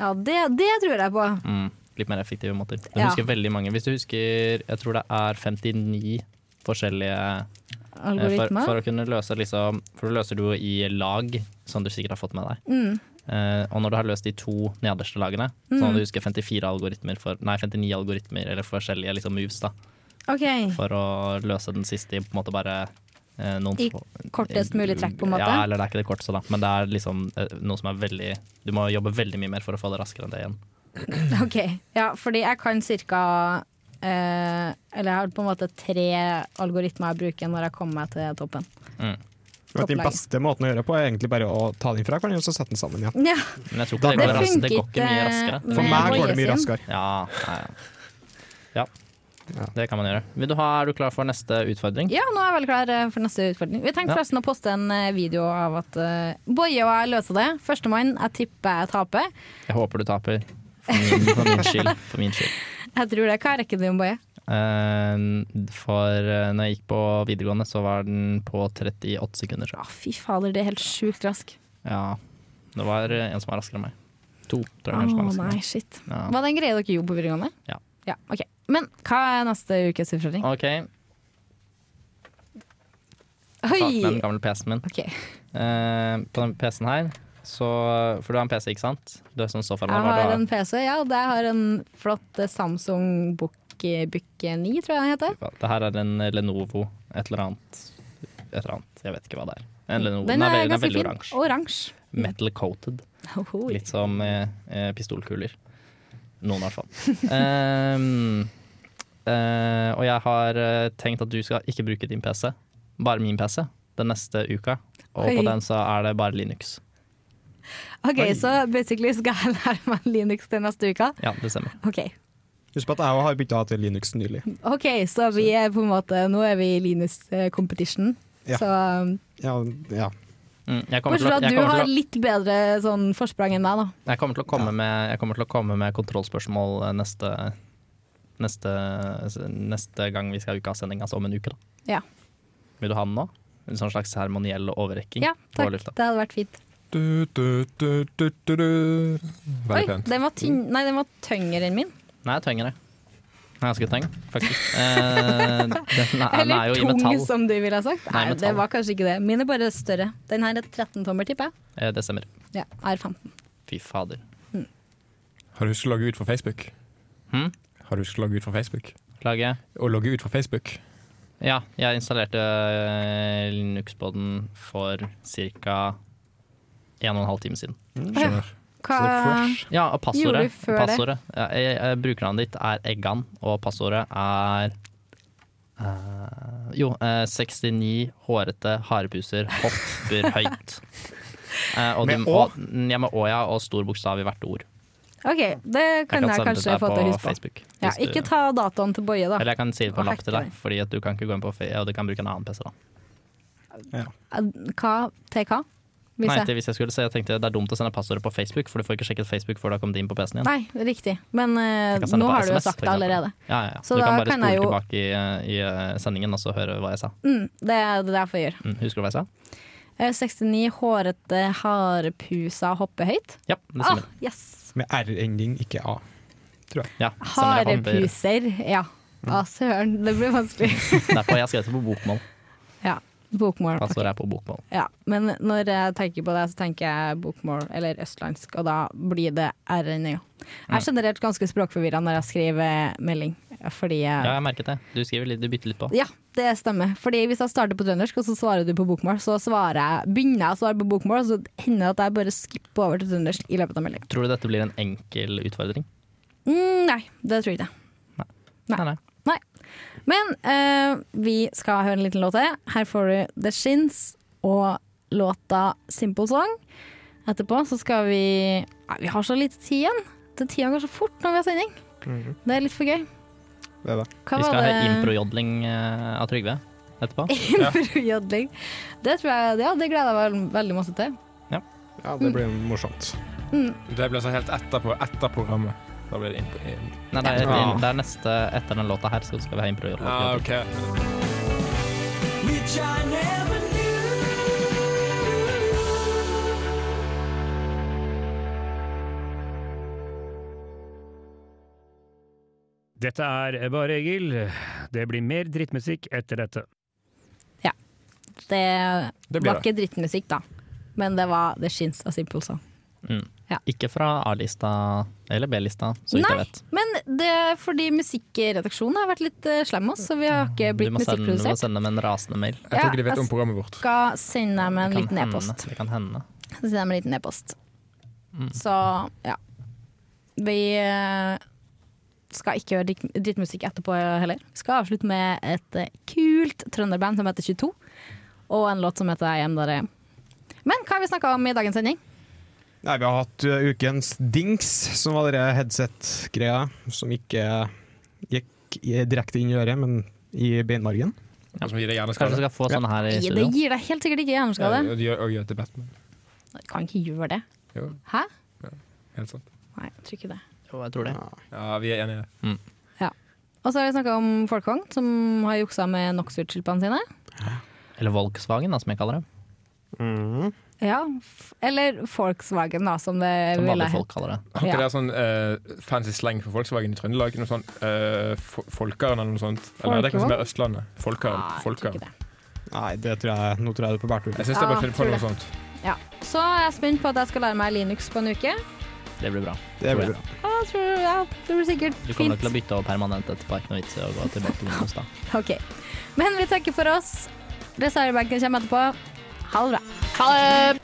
[SPEAKER 1] Ja, det, det tror jeg på.
[SPEAKER 2] Mm. Litt mer effektive måter. Du
[SPEAKER 1] Ja.
[SPEAKER 2] husker veldig mange. Hvis du husker, jeg tror det er 59 forskjellige eh, for,
[SPEAKER 1] Algoritmer.
[SPEAKER 2] for å kunne løse liksom For du løser det jo i lag, som du sikkert har fått med deg.
[SPEAKER 1] Mm.
[SPEAKER 2] Eh, og når du har løst de to nederste lagene, sånn at du husker 54 algoritmer for, nei, 59 algoritmer eller forskjellige liksom, moves da,
[SPEAKER 1] OK.
[SPEAKER 2] for å løse den siste i på en måte bare eh, noen
[SPEAKER 1] I
[SPEAKER 2] få-
[SPEAKER 1] kortest mulig trekk, på en måte?
[SPEAKER 2] Ja, eller det er ikke det korteste, da, men det er liksom eh, noe som er veldig Du må jobbe veldig mye mer for å få det raskere enn det igjen.
[SPEAKER 1] Ok, ja, fordi jeg kan cirka eh, Eller jeg har på en måte tre algoritmer jeg bruker når jeg kommer meg til toppen.
[SPEAKER 4] Og Den
[SPEAKER 1] Topplag.
[SPEAKER 4] beste måten å gjøre det på er egentlig bare å ta den fra hverandre og så sette den sammen igjen.
[SPEAKER 1] Ja,
[SPEAKER 2] Men jeg tror ikke
[SPEAKER 4] Da-
[SPEAKER 2] det,
[SPEAKER 1] det
[SPEAKER 2] går ras- det går
[SPEAKER 1] funket
[SPEAKER 2] ikke mye raskere.
[SPEAKER 1] eh,
[SPEAKER 4] For
[SPEAKER 1] med
[SPEAKER 4] meg
[SPEAKER 1] Boje
[SPEAKER 4] går det mye
[SPEAKER 1] sin.
[SPEAKER 4] raskere.
[SPEAKER 2] Ja, nei, ja. ja, det kan man gjøre. Vil du ha, er du klar for neste utfordring?
[SPEAKER 1] Ja, nå er jeg veldig klar eh, for neste utfordring. Vi tenkte
[SPEAKER 2] Ja.
[SPEAKER 1] forresten å poste en eh, video av at eh, Boje og jeg løser det. Førstemann, jeg tipper jeg taper.
[SPEAKER 2] Jeg håper du taper. For min, for min skyld. For min skyld.
[SPEAKER 1] Jeg tror det. Hva er rekken din, Boje?
[SPEAKER 2] Eh, For eh, når jeg gikk på videregående, så var den på 38 sekunder. tror jeg.
[SPEAKER 1] Å, fy fader, det er helt sjukt rask.
[SPEAKER 2] Ja, det var eh, en som var raskere enn meg. To, tror
[SPEAKER 1] Å
[SPEAKER 2] jeg. kanskje var raskere enn
[SPEAKER 1] nei,
[SPEAKER 2] meg.
[SPEAKER 1] shit.
[SPEAKER 2] Ja.
[SPEAKER 1] Var det en greie dere gjorde på videregående?
[SPEAKER 2] Ja.
[SPEAKER 1] ja ok. Men hva er neste ukes utfordring?
[SPEAKER 2] OK, ta med
[SPEAKER 1] Oi!
[SPEAKER 2] den gamle PC-en min.
[SPEAKER 1] Ok,
[SPEAKER 2] Eh, på den PC-en her, så For du har en PC, ikke sant? Du er sånn sofaen,
[SPEAKER 1] Jeg har en PC, ja. og Jeg har en flott eh, Samsung Book Book 9, tror jeg den heter.
[SPEAKER 2] Det her er en Lenovo et eller annet. Et eller annet. Jeg vet ikke hva det er. En Lenovo.
[SPEAKER 1] Den er
[SPEAKER 2] veldig-
[SPEAKER 1] ganske
[SPEAKER 2] veldig
[SPEAKER 1] fin.
[SPEAKER 2] oransje.
[SPEAKER 1] Oransje.
[SPEAKER 2] Metal coated.
[SPEAKER 1] Ohoi.
[SPEAKER 2] Litt som eh, eh, pistolkuler. Noen, i hvert fall. Ehm, eh, og jeg har eh, tenkt at du skal ikke bruke din PC, bare min PC, den neste uka. Og
[SPEAKER 1] Oi.
[SPEAKER 2] på den så er det bare Linux.
[SPEAKER 1] OK, så basically skal jeg lære meg Linux til neste uke?
[SPEAKER 2] Ja, det stemmer.
[SPEAKER 1] OK.
[SPEAKER 4] Husk på at jeg også har bytta til Linux nylig.
[SPEAKER 1] Ok, så vi er på en måte Nå er vi i Linus eh, competition.
[SPEAKER 4] Ja.
[SPEAKER 1] Så um,
[SPEAKER 4] Ja, ja.
[SPEAKER 2] Mm, jeg, kommer
[SPEAKER 1] Bortsett
[SPEAKER 2] til
[SPEAKER 1] fra
[SPEAKER 2] å,
[SPEAKER 1] at
[SPEAKER 2] jeg,
[SPEAKER 1] du
[SPEAKER 2] kommer
[SPEAKER 1] har
[SPEAKER 2] til å,
[SPEAKER 1] litt bedre sånn forsprang enn meg, da.
[SPEAKER 2] jeg kommer til å komme med Jeg kommer til å komme med kontrollspørsmål eh, neste Neste, neste gang vi skal ha ukasending, altså om en uke. da
[SPEAKER 1] Ja,
[SPEAKER 2] Vil du ha den nå? En sånn slags seremoniell overrekking?
[SPEAKER 1] ja
[SPEAKER 2] på
[SPEAKER 1] takk.
[SPEAKER 2] lufta.
[SPEAKER 1] Det hadde vært fint.
[SPEAKER 3] Du, du, du, du, du, du.
[SPEAKER 1] Oi,
[SPEAKER 3] Veldig pent.
[SPEAKER 1] den var,
[SPEAKER 2] Mm.
[SPEAKER 1] tynn, nei, den var tyngre enn min.
[SPEAKER 2] Nei, jeg trenger det. Jeg er ganske tøng, faktisk. Eh, den, er, den er
[SPEAKER 1] Eller
[SPEAKER 2] jo i
[SPEAKER 1] tung,
[SPEAKER 2] metall.
[SPEAKER 1] som du ville ha sagt.
[SPEAKER 2] Nei,
[SPEAKER 1] Nei, det
[SPEAKER 2] metall.
[SPEAKER 1] var kanskje ikke det. Min er bare større. Den her er 13-tommer, tipper jeg.
[SPEAKER 2] Eh, Det stemmer.
[SPEAKER 1] Ja, R15.
[SPEAKER 2] Fy fader.
[SPEAKER 3] Har du husket å logge ut fra Facebook?
[SPEAKER 2] Hm?
[SPEAKER 3] Har du husket å logge ut fra Facebook?
[SPEAKER 2] Klage.
[SPEAKER 3] Å logge ut fra Facebook?
[SPEAKER 2] Ja, jeg installerte eh, Linux på den for ca. en og en halv time siden.
[SPEAKER 3] Skjønner.
[SPEAKER 1] Hva
[SPEAKER 2] Ja,
[SPEAKER 1] Gjorde
[SPEAKER 2] og passordet,
[SPEAKER 1] du før det?
[SPEAKER 2] passordet ja, jeg, jeg, Brukernavnet ditt er Eggan, og passordet er eh, Jo, eh, 69 hårete harepuser hopper høyt. Eh, og
[SPEAKER 4] Med
[SPEAKER 2] du, og, ja, med å, ja, og stor bokstav i hvert ord.
[SPEAKER 1] OK, det kan jeg,
[SPEAKER 2] sende
[SPEAKER 1] kanskje
[SPEAKER 2] deg
[SPEAKER 1] få til å huske på.
[SPEAKER 2] Facebook.
[SPEAKER 1] Ja,
[SPEAKER 2] hvis du-
[SPEAKER 1] ikke ta datoen til Boje, da.
[SPEAKER 2] Eller jeg kan si det på en
[SPEAKER 1] Og
[SPEAKER 2] lapp til
[SPEAKER 1] hacke
[SPEAKER 2] deg, Fordi at du kan ikke gå inn på Facebook, og du kan bruke en annen PC. da
[SPEAKER 1] Eh, Hva til hva? Hvis
[SPEAKER 2] Nei,
[SPEAKER 1] jeg-
[SPEAKER 2] til hvis jeg skulle si, jeg tenkte det er dumt å sende passordet på Facebook, for du får ikke sjekket Facebook før du har kommet inn på PC-en igjen.
[SPEAKER 1] Nei, riktig. Men eh,
[SPEAKER 2] Jeg kan sende
[SPEAKER 1] nå
[SPEAKER 2] på
[SPEAKER 1] har du jo
[SPEAKER 2] SMS,
[SPEAKER 1] sagt
[SPEAKER 2] for
[SPEAKER 1] det
[SPEAKER 2] eksempel.
[SPEAKER 1] allerede.
[SPEAKER 2] Ja, ja, ja.
[SPEAKER 1] Så
[SPEAKER 2] du kan
[SPEAKER 1] da
[SPEAKER 2] bare
[SPEAKER 1] kan
[SPEAKER 2] spole
[SPEAKER 1] jeg jo-
[SPEAKER 2] tilbake i, i eh, sendingen og så høre hva jeg sa.
[SPEAKER 1] Mm, det er det er derfor jeg gjør.
[SPEAKER 2] Mm, husker du hva jeg sa?
[SPEAKER 1] Eh, 69 hårete harepusa hoppe høyt.
[SPEAKER 2] Ja, det stemmer.
[SPEAKER 1] Ah, yes.
[SPEAKER 4] Med R-ending, ikke A.
[SPEAKER 2] Ja, stemmer det hopper.
[SPEAKER 1] Harepuser, ja. Å, søren, det blir vanskelig.
[SPEAKER 2] Derfor har jeg skrevet det på bokmål.
[SPEAKER 1] ja, bokmål.
[SPEAKER 2] Passordet er på bokmål.
[SPEAKER 1] Ja, men når jeg tenker på det, så tenker jeg bokmål eller østlandsk, og da blir det RNA. Jeg er generelt ganske språkforvirra når jeg skriver melding, fordi jeg
[SPEAKER 2] Ja, jeg merket det. Du skriver litt, du bytter litt på.
[SPEAKER 1] Ja, det stemmer. Fordi Hvis jeg starter på trøndersk, og så svarer du på bokmål, så svarer jeg, begynner jeg å svare på bokmål, og så hender det at jeg bare skipper over til trøndersk i løpet av meldinga.
[SPEAKER 2] Tror du dette blir en enkel utfordring?
[SPEAKER 1] Mm, nei, det tror jeg ikke. Nei.
[SPEAKER 2] Nei, nei.
[SPEAKER 1] Nei. Men eh, vi skal høre en liten låt til. Her får du The Shins og låta Simple Song. Etterpå så skal vi Nei, vi har så lite tid igjen. Den tida går så fort når vi har sending. Det er litt for gøy.
[SPEAKER 4] Mhm. Det er det.
[SPEAKER 1] Hva
[SPEAKER 2] Vi
[SPEAKER 1] var
[SPEAKER 2] skal
[SPEAKER 1] det?
[SPEAKER 2] høre improjodling eh, av Trygve etterpå.
[SPEAKER 1] Improjodling. Det tror jeg, ja, det gleder jeg meg veldig masse til. Mm,
[SPEAKER 4] Ja, det blir morsomt.
[SPEAKER 3] Det ble så helt etterpå, etter programmet. Da ble det innpå inn.
[SPEAKER 2] Nei, det er,
[SPEAKER 4] Ja.
[SPEAKER 2] det er neste etter den låta her, så skal vi ha improjodling.
[SPEAKER 3] ah, ok.
[SPEAKER 6] Which I never knew.
[SPEAKER 9] Dette er Bare Egil. Det blir mer drittmusikk etter dette.
[SPEAKER 1] Det,
[SPEAKER 3] Det blir
[SPEAKER 1] var ikke drittmusikk, da. Men det var The Shins av Simple Song.
[SPEAKER 2] Mm.
[SPEAKER 1] Ja.
[SPEAKER 2] Ikke fra A-lista eller B-lista, så vidt jeg
[SPEAKER 1] Nei,
[SPEAKER 2] vet.
[SPEAKER 1] men det er fordi musikkredaksjonen har vært litt eh, slem med oss, så vi har ikke
[SPEAKER 2] Mm. Du
[SPEAKER 1] blitt
[SPEAKER 2] må, sende, du må
[SPEAKER 1] musikkprodusert.
[SPEAKER 2] sende med en rasende mail.
[SPEAKER 3] Jeg tror
[SPEAKER 1] Ja,
[SPEAKER 3] ikke de vet
[SPEAKER 1] jeg
[SPEAKER 3] om programmet vårt.
[SPEAKER 1] skal sende dem en
[SPEAKER 2] Det kan
[SPEAKER 1] liten
[SPEAKER 2] hende,
[SPEAKER 1] e-post.
[SPEAKER 2] Det kan hende.
[SPEAKER 1] Så sender dem en liten e-post.
[SPEAKER 3] Mm.
[SPEAKER 1] Så ja. Vi eh, skal ikke høre dritt- drittmusikk etterpå heller. Vi skal avslutte med et eh, kult trønderband som heter 22, og en låt som heter Hjem der jeg er. Men hva har vi snakka om i dagens sending?
[SPEAKER 4] Nei, vi har hatt uh, ukens dings, som var dere headset-greia, som ikke gikk i- direkte inn i øret, men i beinmargen.
[SPEAKER 3] Og som gir deg
[SPEAKER 2] Kanskje
[SPEAKER 3] hjerneskade.
[SPEAKER 2] vi skal få sånne her i
[SPEAKER 1] Nei, Det
[SPEAKER 2] studio?
[SPEAKER 1] gir deg helt sikkert ikke hjerneskade.
[SPEAKER 3] Og gjør- og gjør til Batman.
[SPEAKER 1] Jeg kan ikke gjøre det.
[SPEAKER 3] Jo,
[SPEAKER 1] Hæ?
[SPEAKER 3] helt sant.
[SPEAKER 1] Nei, jeg tror ikke det.
[SPEAKER 2] Jo, jeg tror det.
[SPEAKER 3] Ja, vi er enige.
[SPEAKER 1] Og så har vi snakka om Folkvogn, som har juksa med Knoxwood-skilpaddene sine.
[SPEAKER 2] Eller Volkswagen, da, som jeg kaller det.
[SPEAKER 1] Ja, f Eller Volkswagen, da, som det
[SPEAKER 2] Som
[SPEAKER 1] ville
[SPEAKER 2] vanlige folk
[SPEAKER 1] hett.
[SPEAKER 2] kaller det.
[SPEAKER 3] Har ikke
[SPEAKER 1] Ja.
[SPEAKER 3] dere sånn eh, fancy slang for Volkswagen i Trøndelag? Noe sånn eh, fo- Folkeren eller noe sånt? Eller er det kanskje mer Østlandet? Folkeren.
[SPEAKER 1] Ah, jeg tror
[SPEAKER 3] folkeren.
[SPEAKER 1] ikke det.
[SPEAKER 4] Nei, det tror jeg, nå tror jeg du er på bærtur.
[SPEAKER 3] Jeg syns jeg
[SPEAKER 1] Ah,
[SPEAKER 3] bare finner på
[SPEAKER 1] tror
[SPEAKER 3] noe
[SPEAKER 1] det.
[SPEAKER 3] sånt.
[SPEAKER 1] Ja. Så er jeg spent på at jeg skal lære meg Linux på en uke.
[SPEAKER 2] Det blir bra.
[SPEAKER 4] Det
[SPEAKER 2] tror
[SPEAKER 4] blir
[SPEAKER 2] jeg.
[SPEAKER 4] bra.
[SPEAKER 1] Ja, jeg tror, ja, det blir sikkert
[SPEAKER 2] Du kommer nok
[SPEAKER 1] fint.
[SPEAKER 2] til å bytte over permanent etterpå. Ikke noe vits i å gå tilbake til Windows, da.
[SPEAKER 1] Ok. Men vi takker for oss. Reservebenken kommer etterpå. Ha det bra. Ha det!